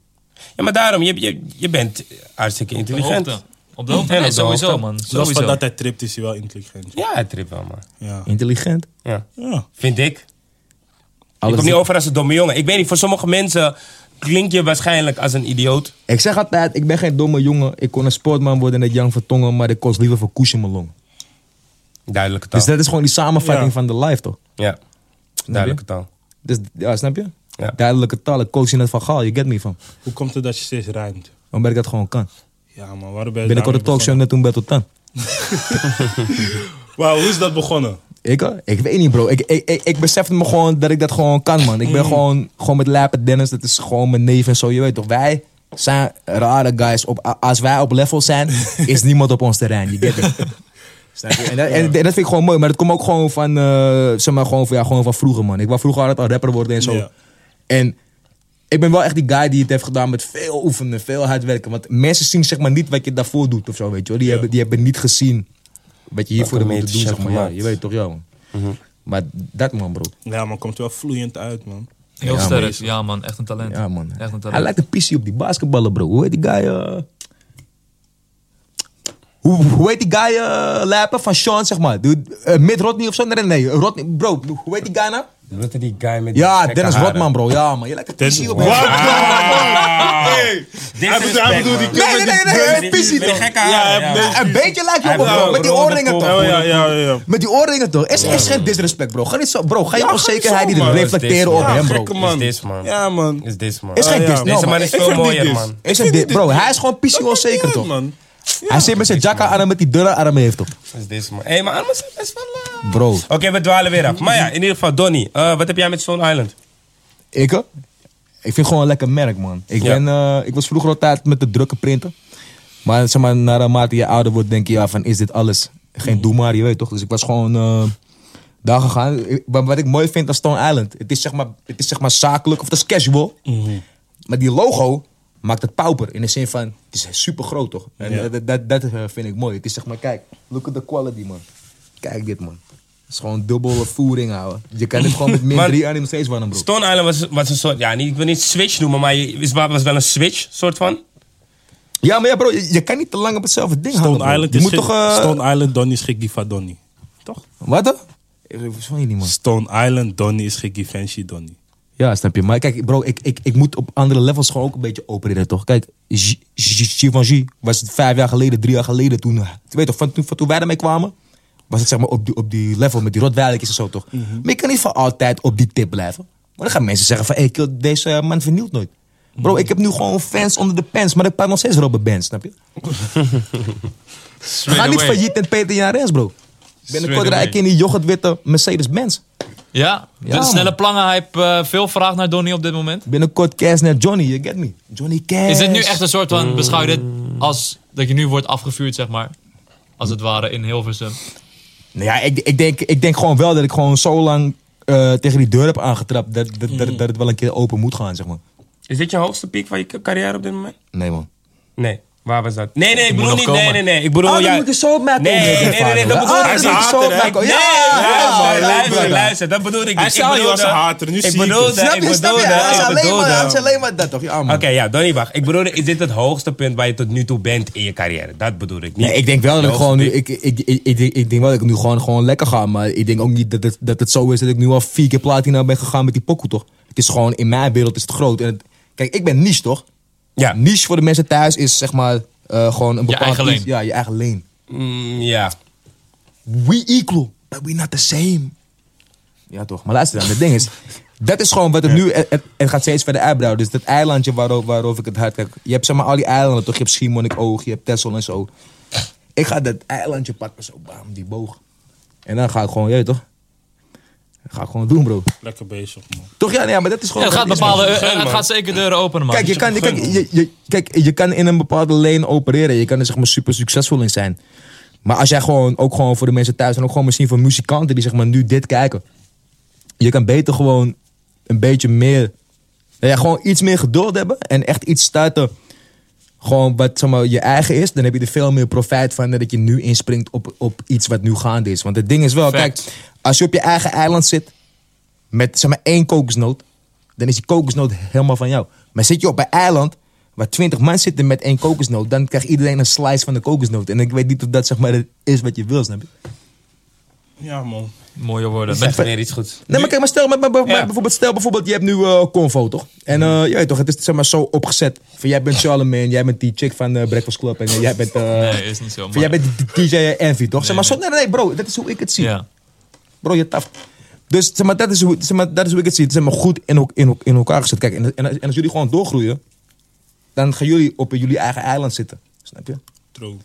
A: Ja, maar daarom, je, je, je bent hartstikke intelligent.
C: Hoogte. Op de hoogte?
A: En op
C: Nee,
A: de
C: sowieso,
A: hoogte.
C: man.
E: Zelfs van
C: Sowieso.
E: dat hij tript is hij wel intelligent.
A: Ja, het trip wel, man.
E: Ja.
D: Intelligent.
A: Ja.
E: ja.
A: Vind ik. Ik
D: Alles
A: kom niet over als een domme jongen. Ik weet niet, voor sommige mensen klink je waarschijnlijk als een idioot.
D: Ik zeg altijd, ik ben geen domme jongen. Ik kon een sportman worden net Jan Vertongen, maar ik kost liever voor Koes in mijn long.
A: Duidelijke taal.
D: Dus dat is gewoon die samenvatting
E: Ja.
D: van de life, toch?
A: Ja, duidelijke taal.
D: Dus, ja, snap je?
A: Ja.
D: Duidelijke taal. Ik coach je net van Gaal, je get me van.
E: Hoe komt het dat je steeds ruimt?
D: Omdat ik dat gewoon kan.
E: Ja man, waarom ben je
D: Ben ik op de
E: daarmee
D: talkshow net toen Battle Tan.
E: begonnen? Wauw, hoe is dat begonnen?
D: Ik, hoor. ik weet niet, bro. Ik, ik, ik, ik besefte me gewoon dat ik dat gewoon kan, man. Ik ben gewoon, gewoon met Lapen Dennis, dat is gewoon mijn neef en zo. Je weet toch, wij zijn rare guys. Op, a- als wij op level zijn, is niemand op ons terrein. Je get it. Snap je? En dat, en, en dat vind ik gewoon mooi, maar dat komt ook gewoon van, eh, zeg maar, gewoon van, ja, gewoon van vroeger, man. Ik wou vroeger altijd al rapper worden en zo.
E: Ja.
D: En ik ben wel echt die guy die het heeft gedaan met veel oefenen, veel hard werken. Want mensen zien zeg maar niet wat je daarvoor doet of zo, weet je wel. Die, hebben, die hebben niet gezien wat je hiervoor
A: Welke
D: moet doen,
A: meters je
D: zeg maar.
A: hebt
D: Ja,
A: gemaakt. Mhm.
D: je weet toch, ja, man. Maar dat man, bro.
E: Ja man, komt wel vloeiend uit man.
C: Heel
D: Ja,
C: sterk. Ja, man. Echt een talent.
D: Ja, man.
C: Echt een
D: Hij
C: talent.
D: lijkt een pissie op die basketballen, bro. Hoe heet die guy? eh? Hoe, hoe heet die guy eh lappen van Sean, zeg maar? Dude, eh, Mitt Rodney of zo? Nee, nee, nee. Rodney, bro, hoe heet die guy nou?
A: Wat is die guy met die
D: Ja,
A: gekke
D: Dennis
A: haren?
D: Rodman, bro. Ja, man. Je lijkt een pissie op
E: Wow.
D: hem.
A: Disrespect,
E: Hij bedoelt die
A: man.
E: kut
D: Nee,
E: met
D: nee, nee,
E: die
D: nee,
E: bril.
D: hij heeft pissie
A: Met die
D: toch?
A: gekke haren,
E: Ja,
A: ja.
E: hij heeft
D: Een beetje lijkt je
A: Hij
D: op hem,
A: heeft
D: bro. Met die
A: een ronde
D: oorringen
A: kop.
D: toch?
E: Ja, Oh, ja, ja, ja.
D: Met die oorringen toch? Is, is geen disrespect, bro. Ga niet zo, bro. Ga je
E: Ja,
D: onzekerheid
E: ga niet
D: niet
E: zo, man.
D: reflecteren op
E: Ja,
D: hem, bro.
E: gekke man.
A: Is dit, man.
E: Ja man.
A: Is dit, man.
D: Is geen
E: Ja, ja.
D: dis, no,
A: Deze man
D: man.
A: is
E: Ik
A: veel
E: vind die
A: mooier,
E: dis.
A: man.
D: Is een dis, bro. Hij is gewoon pissie onzeker, toch?
E: man.
D: Hij zit met zijn jacka-arm met die dunne armen heeft, toch?
A: Is dit, man. Hé, hey, maar allemaal zijn best wel... eh,
D: Bro.
A: Oké, we dwalen weer af. Maar ja, in ieder geval, Donnie, eh, wat heb jij met Stone Island?
D: Ik? hè? Ik vind gewoon een lekker merk, man. Ik,
A: Ja.
D: ben, eh, ik was vroeger altijd met de drukke printen. Maar zeg maar, naarmate je ouder wordt, denk je ja, van is dit alles? Geen doe maar, je weet toch? Dus ik was gewoon eh, daar gegaan. Ik- Wat, wat ik mooi vind aan Stone Island, het is zeg maar, het is zeg maar zakelijk of het is casual.
A: Mhm.
D: Maar die logo maakt het pauper. In de zin van, het is super groot toch? En
E: Ja.
D: dat, dat, dat, eh, vind ik mooi. Het is zeg maar, kijk, look at the quality man. Kijk dit man. Het is gewoon dubbele voering houden. Je kan het gewoon met min
A: Maar-
D: 3 aan hem steeds warm bro.
A: Stone Island was, was een soort, ja, niet, ik wil niet switch noemen, maar je- is- was wel een switch, soort van.
D: Ja, maar ja, bro, je, je kan niet te lang op hetzelfde ding houden.
E: Stone
D: bro.
E: Island
D: je
E: is
D: moet
E: gek-
D: toch. eh,
E: Stone Island Donnie is gek die van Donnie.
D: Wat dan? Ik verstaan je niet, man.
E: Stone Island Donnie is gek die Fancy Donnie.
D: Ja, snap je. Maar kijk, bro, ik, ik, ik moet op andere levels gewoon ook een beetje opereren, toch? Kijk, G- G- Givenchy was het vijf jaar geleden, drie jaar geleden toen. eh, Weet je toch, van toen, van toen wij ermee kwamen, was het zeg maar op die, op die level met die rotwijlijkjes en zo, toch?
E: Mhm.
D: Maar je kan niet voor altijd op die tip blijven. Maar dan gaan mensen zeggen van, hé, kill, deze eh, man vernielt nooit. Bro,
E: Mhm.
D: ik heb nu gewoon fans onder de pens, maar ik pak nog steeds Robert Benz, snap je? Ga niet
C: away.
D: failliet en Peter Jarens, bro. Binnenkort
C: Straight
D: rij ik in die yoghurtwitte Mercedes-Benz.
C: Ja, de
D: Ja,
C: snelle
D: man.
C: plangenhype. eh, veel vraag naar Donnie op dit moment.
D: Binnenkort Cash naar Johnny, you get me? Johnny Cash.
C: Is dit nu echt een soort van, beschouw je dit als dat je nu wordt afgevuurd, zeg maar? Als het ware in Hilversum.
D: Nou ja, ik, ik, denk, ik denk gewoon wel dat ik gewoon zo lang eh, tegen die deur heb aangetrapt dat, dat,
C: Hmm.
D: dat, dat het wel een keer open moet gaan, zeg maar.
A: Is dit je hoogste piek van je ca- carrière op dit moment?
D: Nee, man.
A: Nee. Waar was dat? Nee, nee, ik bedoel
C: nog
A: niet.
C: komen.
A: Nee, nee, nee. Ik bedoel,
D: Oh, dan
A: ja-
D: moet je zo op mij
A: Nee,
D: komen,
A: nee, nee, nee,
D: vader.
A: dat bedoel
D: Ah,
A: ik
D: hij
A: niet.
D: is een hater,
A: Stop,
D: hè?
A: Michael.
D: Ja,
A: Nee,
D: ja,
A: luister,
D: ja,
A: luister,
D: ja.
A: luister. Dat bedoel ik niet.
E: Hij
A: Ik
E: zei al, je was
A: bedoelde-
E: een hater. Nu
A: ik
E: zie ik
A: bedoelde-
E: het.
A: ik
D: Snap je, snap je?
A: bedoelde-
D: Hij is
A: ik
D: alleen maar- hij is
A: bedoelde-
D: alleen maar dat toch? Ja, man.
A: Oké, ja, Donnie, wacht. Ik bedoel, is dit het hoogste punt waar je tot nu toe bent in je carrière? Dat bedoel ik niet.
D: Nee, ik denk wel dat ik
A: Ja,
D: gewoon nu. Ik, ik, ik, ik, ik denk, ik denk wel dat ik nu gewoon, gewoon lekker ga. Maar ik denk ook niet dat het, dat het zo is dat ik nu al vier keer platina ben gegaan met die pokoe, toch? Het is gewoon, in mijn wereld is het groot. En het- kijk, ik ben niche, toch?
A: Ja.
D: Niche voor de mensen thuis is zeg maar eh, gewoon een bepaald.
C: eigen
D: iets.
C: lane.
D: Ja, je eigen leen.
A: Mm, ja.
D: We equal, but we not the same. Ja, toch? Maar luister dan, het ding is. Dat is gewoon wat het nu. Het, het gaat steeds verder uitbouwen. Dus dat eilandje waarover, waarover ik het hard kijk. Je hebt zeg maar al die eilanden toch? Je hebt Schiermonnikoog, je hebt Texel en zo. Ik ga dat eilandje pakken, zo bam, die boog. En dan ga ik gewoon, jeet toch? Dat ga ik gewoon doen, bro.
E: Lekker bezig, man.
D: Toch? Ja, nee, ja, maar dat is gewoon.
C: Het gaat,
D: dat is
C: bepaalde,
E: gun,
C: het
E: man.
C: gaat zeker deuren openen, man.
D: Kijk, je kan, je, kan, je, je- kijk, je kan in een bepaalde lane opereren. Je kan er zeg maar super succesvol in zijn. Maar als jij gewoon, ook gewoon voor de mensen thuis en ook gewoon misschien voor muzikanten die zeg maar nu dit kijken. Je kan beter gewoon een beetje meer, nou ja, gewoon iets meer geduld hebben en echt iets starten. Gewoon wat zeg maar, je eigen is, dan heb je er veel meer profijt van dan dat je nu inspringt op, op iets wat nu gaande is. Want het ding is wel,
C: Facts.
D: kijk, als je op je eigen eiland zit, met zeg maar één kokosnoot, dan is die kokosnoot helemaal van jou. Maar zit je op een eiland waar twintig man zitten met één kokosnoot, dan krijgt iedereen een slice van de kokosnoot. En ik weet niet of dat zeg maar het is wat je wil, snap je?
E: Ja, man.
C: Mooie woorden.
A: Zeg weer iets goeds.
D: Nee, maar kijk, maar stel, maar, maar- maar- maar
A: Ja.
D: bijvoorbeeld, stel bijvoorbeeld, je hebt nu eh Convo, toch? En eh, je weet toch, het is zeg maar zo opgezet. Van jij bent Charlemagne, jij bent die chick van eh, Breakfast Club en eh, jij bent... eh,
C: Nee, is niet zo.
D: van jij
C: Maar,
D: bent die DJ Envy, toch? Zeg maar, zo, nee, nee, nee, bro, dat is hoe ik het zie.
C: ja.
D: Bro, je taf. Dus zeg maar, dat, is hoe, zeg maar, dat is hoe ik het zie. Het is helemaal goed in, elk- in, elk- in elkaar gezet. Kijk, en, en, en als jullie gewoon doorgroeien, dan gaan jullie op jullie eigen eiland zitten. Snap je?
E: True.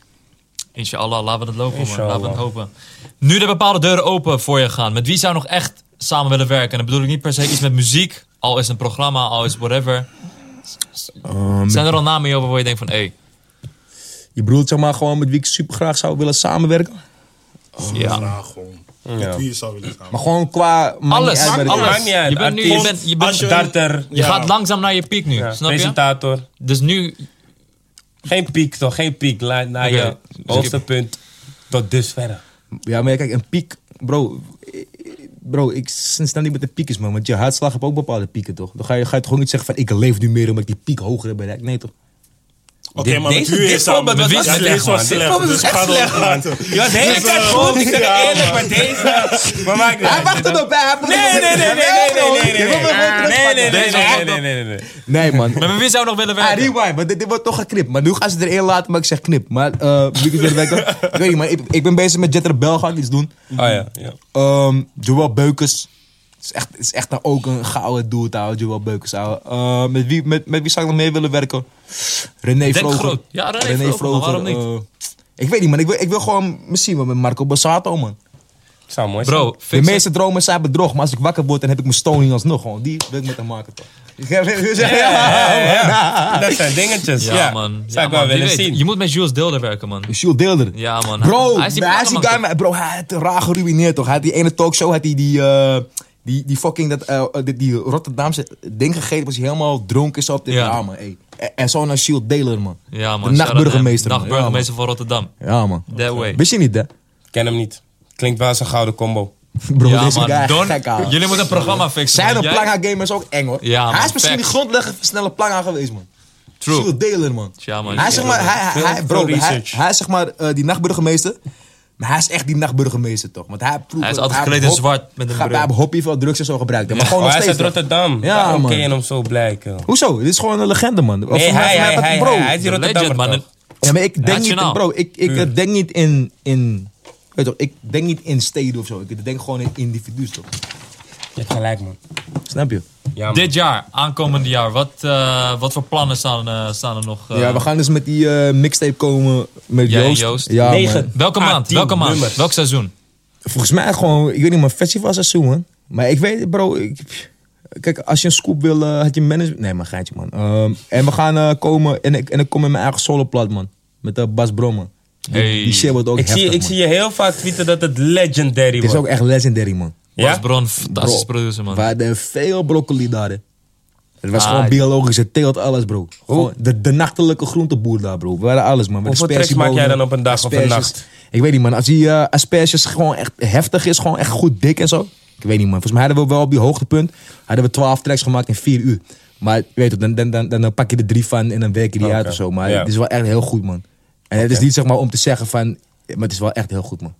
C: Inshallah, laten we dat lopen, man. Laten we het
A: Inshallah.
C: hopen. Nu de bepaalde deuren open voor je gaan. Met wie zou je nog echt samen willen werken? En dan bedoel ik niet per se iets met muziek. Al is het een programma, al is het whatever. Zijn er al namen hierover waar je denkt van... Hey,
D: Je bedoelt zeg maar gewoon met wie ik super graag zou willen samenwerken.
C: ja.
E: Vraag gewoon. Met wie je zou willen gaan.
D: Maar gewoon qua... maakt
C: Alles,
D: niet uit bij de-
C: alles.
A: Maakt niet uit.
C: Je bent nu- je
A: Artiest,
C: bent- je bent-
A: als darter,
C: Je gaat langzaam naar je piek nu,
A: ja,
C: snap je?
A: presentator.
C: Dus nu...
A: Geen piek toch, geen piek. La, naar
C: Oké, dus
A: je hoogste punt tot dusver.
D: Ja, maar ja, kijk, een piek, bro. eh, Bro, ik sta niet met de piekers, man. Want je hartslag hebt ook bepaalde pieken, toch? Dan ga je, ga je toch ook niet zeggen van ik leef nu meer omdat ik die piek hoger heb bereikt. Nee, toch?
E: Oké, maar met
A: Deze-
E: wie
A: dit
E: je samen...
A: voorbeeld
E: Met
A: was
E: wie
A: echt
E: ja,
A: slecht,
E: deze was
A: man.
E: slecht. Dus ik ga erop laten.
A: Ja, deze
E: Dus, eh,
A: tijd goed. Ik zeg het
E: ja,
A: eerlijk,
E: man.
A: maar deze... Maar maakt niet uit.
D: nog bij. Hij wacht
A: Nee, nee, nee, nee, nee, nee, nee, nee. Nee, nee, nee, nee, nee, nee, nee, nee, nee.
D: Nee, man.
C: Maar met wie zou je nog willen
D: Ah,
C: werken?
D: rewind, want dit, dit wordt toch geknipt. Maar nu gaan ze erin laten, maar ik zeg knip. Maar, eh, wie ik wil werken? Ik weet niet, man. Ik, ik ben bezig met Jetter Bel, ga ik iets doen.
A: Oh ja, ja.
D: Ehm Joël Beukers. Het is echt, het is echt nou ook een gouden doet, ouwe. Joël Beukers, ouwe. Eh, met, wie, met, met wie zou ik nog mee willen werken? René
C: Denk
D: Vroger.
C: groot. Ja, René Vroger, maar waarom niet?
D: eh, ik weet niet, man. Ik wil, ik wil gewoon misschien wel met Marco Bassato, man.
A: Zou mooi zijn.
C: Bro,
D: De
C: fix het.
D: meeste dromen zijn bedrog, maar als ik wakker word, dan heb ik mijn stoning alsnog. Gewoon. Die wil ik met hem maken, toch?
A: Dat zijn dingetjes.
C: Ja,
A: Ja,
C: man. Ja,
A: Zou ik
C: man,
A: wel
C: wie
A: willen
C: weet.
A: zien.
C: Je moet met Jules Deelder werken, man.
D: Jules Deelder.
C: Ja, man.
D: Bro, hij is die,
C: die platenmaker.
D: guy, maar bro, hij had raar geruineerd toch? Hij had die ene talkshow, had die, die, eh, die, die fucking dat, eh, die, die Rotterdamse ding gegeten, was hij helemaal dronken zo op de
C: Ja.
D: ja. man. Ey. En, en zo naar Shield Deler, man.
C: Ja, man.
D: De
C: shout-out
D: nachtburgemeester.
C: hem.
D: man.
C: Nachtburgemeester van Rotterdam.
D: Ja, man. Ja, man.
C: That way.
D: Wist je niet, hè?
A: Ken hem niet. Klinkt wel als een gouden combo.
D: Bro,
C: ja,
D: deze guy
C: man. Don,
D: gek, ouwe.
C: jullie moeten een programma fixen.
D: Zijn
C: man.
D: een
C: Jij-
D: planga game is ook eng, hoor.
C: Ja,
D: hij
C: man,
D: is misschien
C: facts.
D: die grondlegger van snelle planga geweest, man.
C: True.
D: Shield Deler, man.
C: Ja, man.
D: Hij is zeg maar, hij, hij, hij- bro,
A: veel
D: hij,
A: research.
D: hij is zeg maar eh, die nachtburgemeester. Maar hij is echt die nachtburgemeester toch? Want hij, proeft-
C: Hij is altijd
D: hij
C: gekleed in
D: hop-
C: zwart met een
D: gaat-
C: bril.
D: Hij heeft hobbyveel drugs en zo gebruikt. hè. Maar gewoon
A: Oh,
D: nog
A: hij is uit
D: steeds. toch?
A: Rotterdam.
D: Ja,
A: Daarom
D: man.
A: ken je hem zo blijken.
D: Hoezo? Dit is gewoon een legende, man. Voor
A: Nee,
D: mij-
A: hij,
D: voor mij
A: hij,
D: dat-
A: hij,
D: bro.
A: hij is die
C: De legend,
A: Rotterdammer
C: man.
A: toch?
D: Ja, maar ik denk niet,
C: Nationaal.
D: bro, ik, ik eh, denk niet in, in, weet toch, ik denk niet in steden of zo. Ik denk gewoon in individuen, toch?
A: Je hebt gelijk, man.
D: Snap je?
A: Ja, man.
C: Dit jaar, aankomende jaar, wat, eh, wat voor plannen staan, eh, staan er nog? eh?
D: ja, we gaan dus met die eh, mixtape komen met
C: Jij en
D: Joost.
C: Joost.
D: Ja, man.
A: Negen.
C: Welke
A: Ah,
C: maand?
A: tien
C: Welke maand?
A: nummers.
C: Welk seizoen?
D: Volgens mij gewoon, ik weet niet, maar festivalseizoen, man. Maar ik weet, bro, ik, kijk, als je een scoop wil, eh, had je management. Nee, maar geintje, man. Ehm, en we gaan eh, komen, en ik, en ik kom met mijn eigen soloplat, man. Met de Bas Brommer. Die,
C: Hey.
D: die shit wordt ook
A: Ik,
D: heftig,
A: zie, ik
D: man.
A: zie je heel vaak tweeten dat het legendary
D: Het
A: wordt.
D: is ook echt legendary, man.
A: ja?
C: Bas Bron, fantastisch
D: Bro,
C: producer, man.
D: We hadden veel broccoli daar, hè. Het was
C: Ah,
D: gewoon
C: ja.
D: biologisch. Het teelt alles, bro. Gewoon de, de nachtelijke groenteboer daar, bro. We waren alles, man. Met
A: Hoeveel tracks maak jij dan op een dag of een
D: asperges.
A: nacht?
D: Ik weet niet, man. Als die eh asperges gewoon echt heftig is, gewoon echt goed dik en zo. Ik weet niet, man. Volgens mij hadden we wel op die hoogtepunt... hadden we twaalf tracks gemaakt in vier uur. Maar je weet het, dan, dan, dan, dan, dan pak je er drie van en dan werk je die uit of zo. Maar
A: Oh, Ja.
D: het is wel echt heel goed, man. En het is niet zeg maar om te zeggen van... Maar het is wel echt heel goed, man.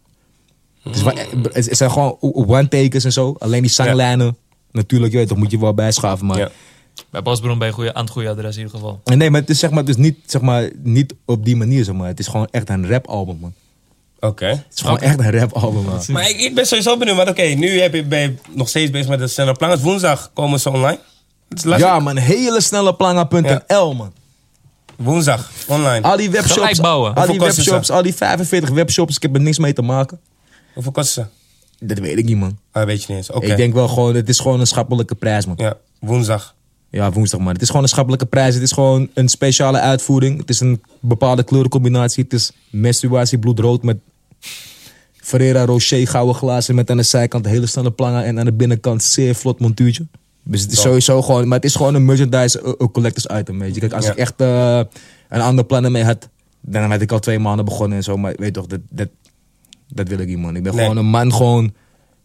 D: Het, is wel echt- het het zijn gewoon one-takers en zo. Alleen die zanglijnen. Natuurlijk, je weet, dat moet je wel bijschaven, maar...
A: Ja.
C: Bij Basbron ben je goeie- aan het goede adres in ieder geval.
D: Nee, maar het is zeg maar, dus niet, zeg maar niet op die manier, zeg maar. Het is gewoon echt een rapalbum, man.
A: Oké.
D: Het is gewoon echt een rapalbum, man.
A: Maar ik, ik ben sowieso benieuwd, want oké, nu heb je, ben je nog steeds bezig met de snelle plan. Woensdag komen ze online. Het is lastig.
D: Ja, man, hele snelle planga.nl, man.
A: Woensdag, online.
D: Al die
C: Gelijk
D: webshops,
C: bouwen.
D: al die
A: Hoeveel kosten
D: webshops, al die 45 webshops, ik heb er niks mee te maken.
A: Hoeveel kosten ze?
D: Dat weet ik niet, man.
A: Ah, weet je niet eens. Oké.
D: Ik denk wel gewoon, het is gewoon een schappelijke prijs, man.
A: Ja, woensdag.
D: Ja, woensdag, man. Het is gewoon een schappelijke prijs. Het is gewoon een speciale uitvoering. Het is een bepaalde kleurencombinatie. Het is menstruatie, bloedrood met Ferrera Rocher, gouden glazen. Met aan de zijkant hele snelle plangen. En aan de binnenkant zeer vlot montuurtje. Dus het is sowieso gewoon... Maar het is gewoon een merchandise eh, eh, collectors item, weet je. Kijk, als
A: Ja.
D: ik echt eh, een ander plan mee had... Dan had ik al twee maanden begonnen en zo. Maar weet toch, dat, dat, dat wil ik niet, man. Ik ben
A: Nee.
D: gewoon een man gewoon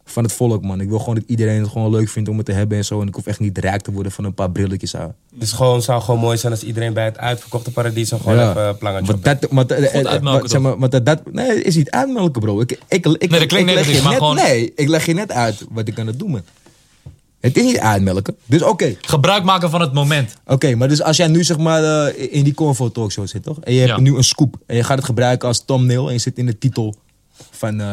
D: van het volk, man. Ik wil gewoon dat iedereen het gewoon leuk vindt om het te hebben en zo. En ik hoef echt niet rijk te worden van een paar brilletjes aan.
A: Dus gewoon zou gewoon mooi zijn als iedereen bij het uitverkochte paradies gewoon
D: Ja.
A: even eh, een plangetje
D: Want dat, want, eh, eh,
C: uitmelken,
D: wat- zeg maar, want dat- dat, nee, is niet uitmelken, bro. Ik, ik, ik, ik,
C: Nee, dat klinkt
D: ik leg
C: negatief,
D: je
C: maar
D: net,
C: gewoon-
D: Nee, ik leg je net uit wat ik aan het doen ben. Het is niet uitmelken. Dus oké,
C: Gebruik maken van het moment.
D: oké. maar dus als jij nu zeg maar eh, in die Convo Talkshow zit, toch? En je hebt
C: Ja.
D: nu een scoop. En je gaat het gebruiken als thumbnail en je zit in de titel van eh,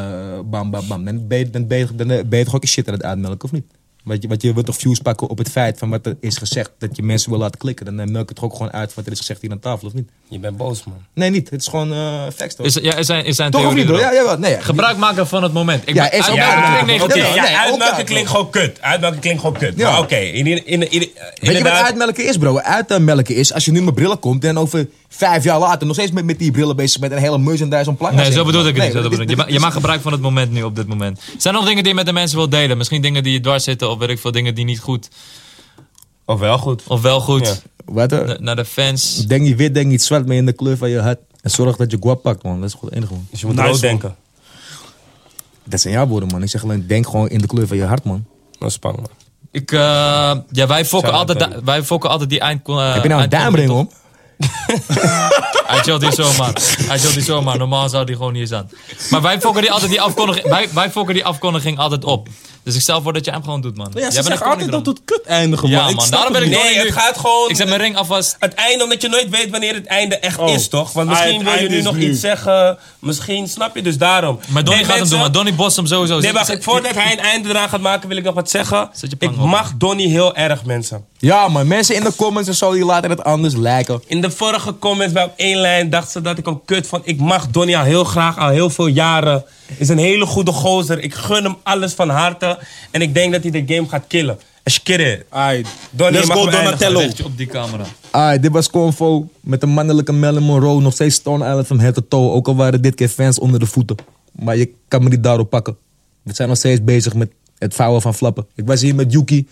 D: bam, bam, bam. Dan ben je, dan ben je, dan ben je toch ook een shit aan het uitmelken, of niet? Want je, want je wilt toch views pakken op het feit van wat er is gezegd. Dat je mensen wil laten klikken. Dan eh, melk het toch ook gewoon uit wat er is gezegd hier aan tafel, of niet?
A: Je bent boos, man.
D: Nee, niet. Het is gewoon eh facts, toch?
C: Is, ja, is zijn, is zijn
D: Toch of
C: theorie
D: niet, bro?
C: erop.
D: Ja, jawel. Nee, ja.
C: Gebruik maken van het moment. Ik
D: Ja,
C: ben- Ah,
D: is-
C: uit-
D: ja,
C: uit-
D: ja,
C: klinkt
D: ja,
C: negatief.
D: oké,
A: ja,
D: nee,
A: uitmelken
D: ook
A: klinkt gewoon kut. Uitmelken klinkt gewoon kut.
D: Ja.
A: Maar oké, in, in, in, in,
D: Weet je wat
A: inderdaad.
D: uitmelken is, bro? Uitmelken is als je nu met brillen komt en over vijf jaar later nog steeds met, met die brillen bezig bent en hele merchandise om plakken.
C: Nee, zo bedoel ik het niet. zo bedoel ik. Je, ma- je
D: mag
C: maakt gebruik van het moment nu op dit moment. Zijn er nog dingen die je met de mensen wilt delen? Misschien dingen die je dwars zitten of weet ik veel dingen die niet goed
A: Of Oh, wel goed.
C: of wel goed.
A: Ja.
D: Wat eh?
C: Na- Naar de fans.
D: Denk niet wit, denk niet zwart, maar in de kleur van je hart. En zorg dat je guap pakt, man. Dat is gewoon het enige, man.
A: Dus je moet
E: Nice,
A: rood
E: man.
A: denken.
D: Dat zijn jouw woorden, man. Ik zeg alleen, denk gewoon in de kleur van je hart, man.
A: Dat is spannend. man.
C: Ik, eh, ja, wij fokken,
A: Shout-out,
C: altijd,
A: Barry.
C: da- wij fokken altijd die eind.
D: Heb je nou een duimring om?
C: Hij chillt hier zomaar. Hij chillt hier zomaar. Normaal zou die gewoon niet eens aan. Maar wij fokken die altijd die afkondiging, wij, wij fokken die afkondiging altijd op. Dus ik stel voor dat jij hem gewoon doet, man.
E: Ja,
C: Jij
E: ze
C: bent een
E: zeggen altijd
C: koning
E: dat het kut eindigen,
C: Ja,
E: man. Ik
C: man,
E: snap
C: daarom ben
E: het
C: ik
E: niet.
C: nog
A: Nee,
C: niet
A: het
C: nu-
A: gaat gewoon.
C: dan. Ik zet mijn ring alvast.
A: Het einde, omdat je nooit weet wanneer het einde echt
E: Oh.
A: is, toch? Want
E: Ah,
A: misschien
E: het
A: wil je
E: einde
A: nu
E: is
A: nog
E: nu.
A: iets zeggen. Misschien, snap je? Dus daarom.
C: Maar Donnie
A: Nee,
C: gaat hem
A: mensen,
C: doen, maar Donnie bost hem sowieso.
A: Nee, wacht.
C: Zet-
A: ik- Voordat hij een einde eraan gaat maken, wil ik nog wat zeggen.
C: Zet je
A: Ik
C: pang op.
A: mag Donnie heel erg, mensen.
D: Ja, man. Mensen in de comments en zo, die laten het anders lijken.
A: In de vorige comments bij op één lijn dacht ze dat ik hem kut vond. Ik mag Donnie al heel graag, al heel veel jaren. Is een hele goede gozer. Ik gun hem alles van harte. En ik denk dat hij de game gaat killen. Eskere.
E: Ai,
A: Donnie, je
E: Let's
A: mag
E: go
A: hem
E: Donatello.
C: zet je op die camera.
D: Ah, dit was Convo met de mannelijke Marilyn Monroe. Nog steeds Stone Island van head to toe. Ook al waren dit keer fans onder de voeten. Maar je kan me niet daarop pakken. We zijn nog steeds bezig met het vouwen van flappen. Ik was hier met Yuki.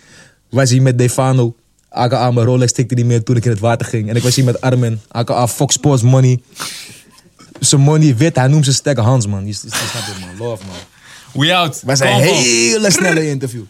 D: was hier met Defano. AKA mijn Rolex stikte niet meer toen ik in het water ging. En ik was hier met Armin. AKA Fox Sports Money. Zijn money wit. Hij noemt zijn stekker Hans, man. Je, je snapt het, man. Love, man.
C: We out.
D: Het was een
C: Convo.
D: hele snelle interview.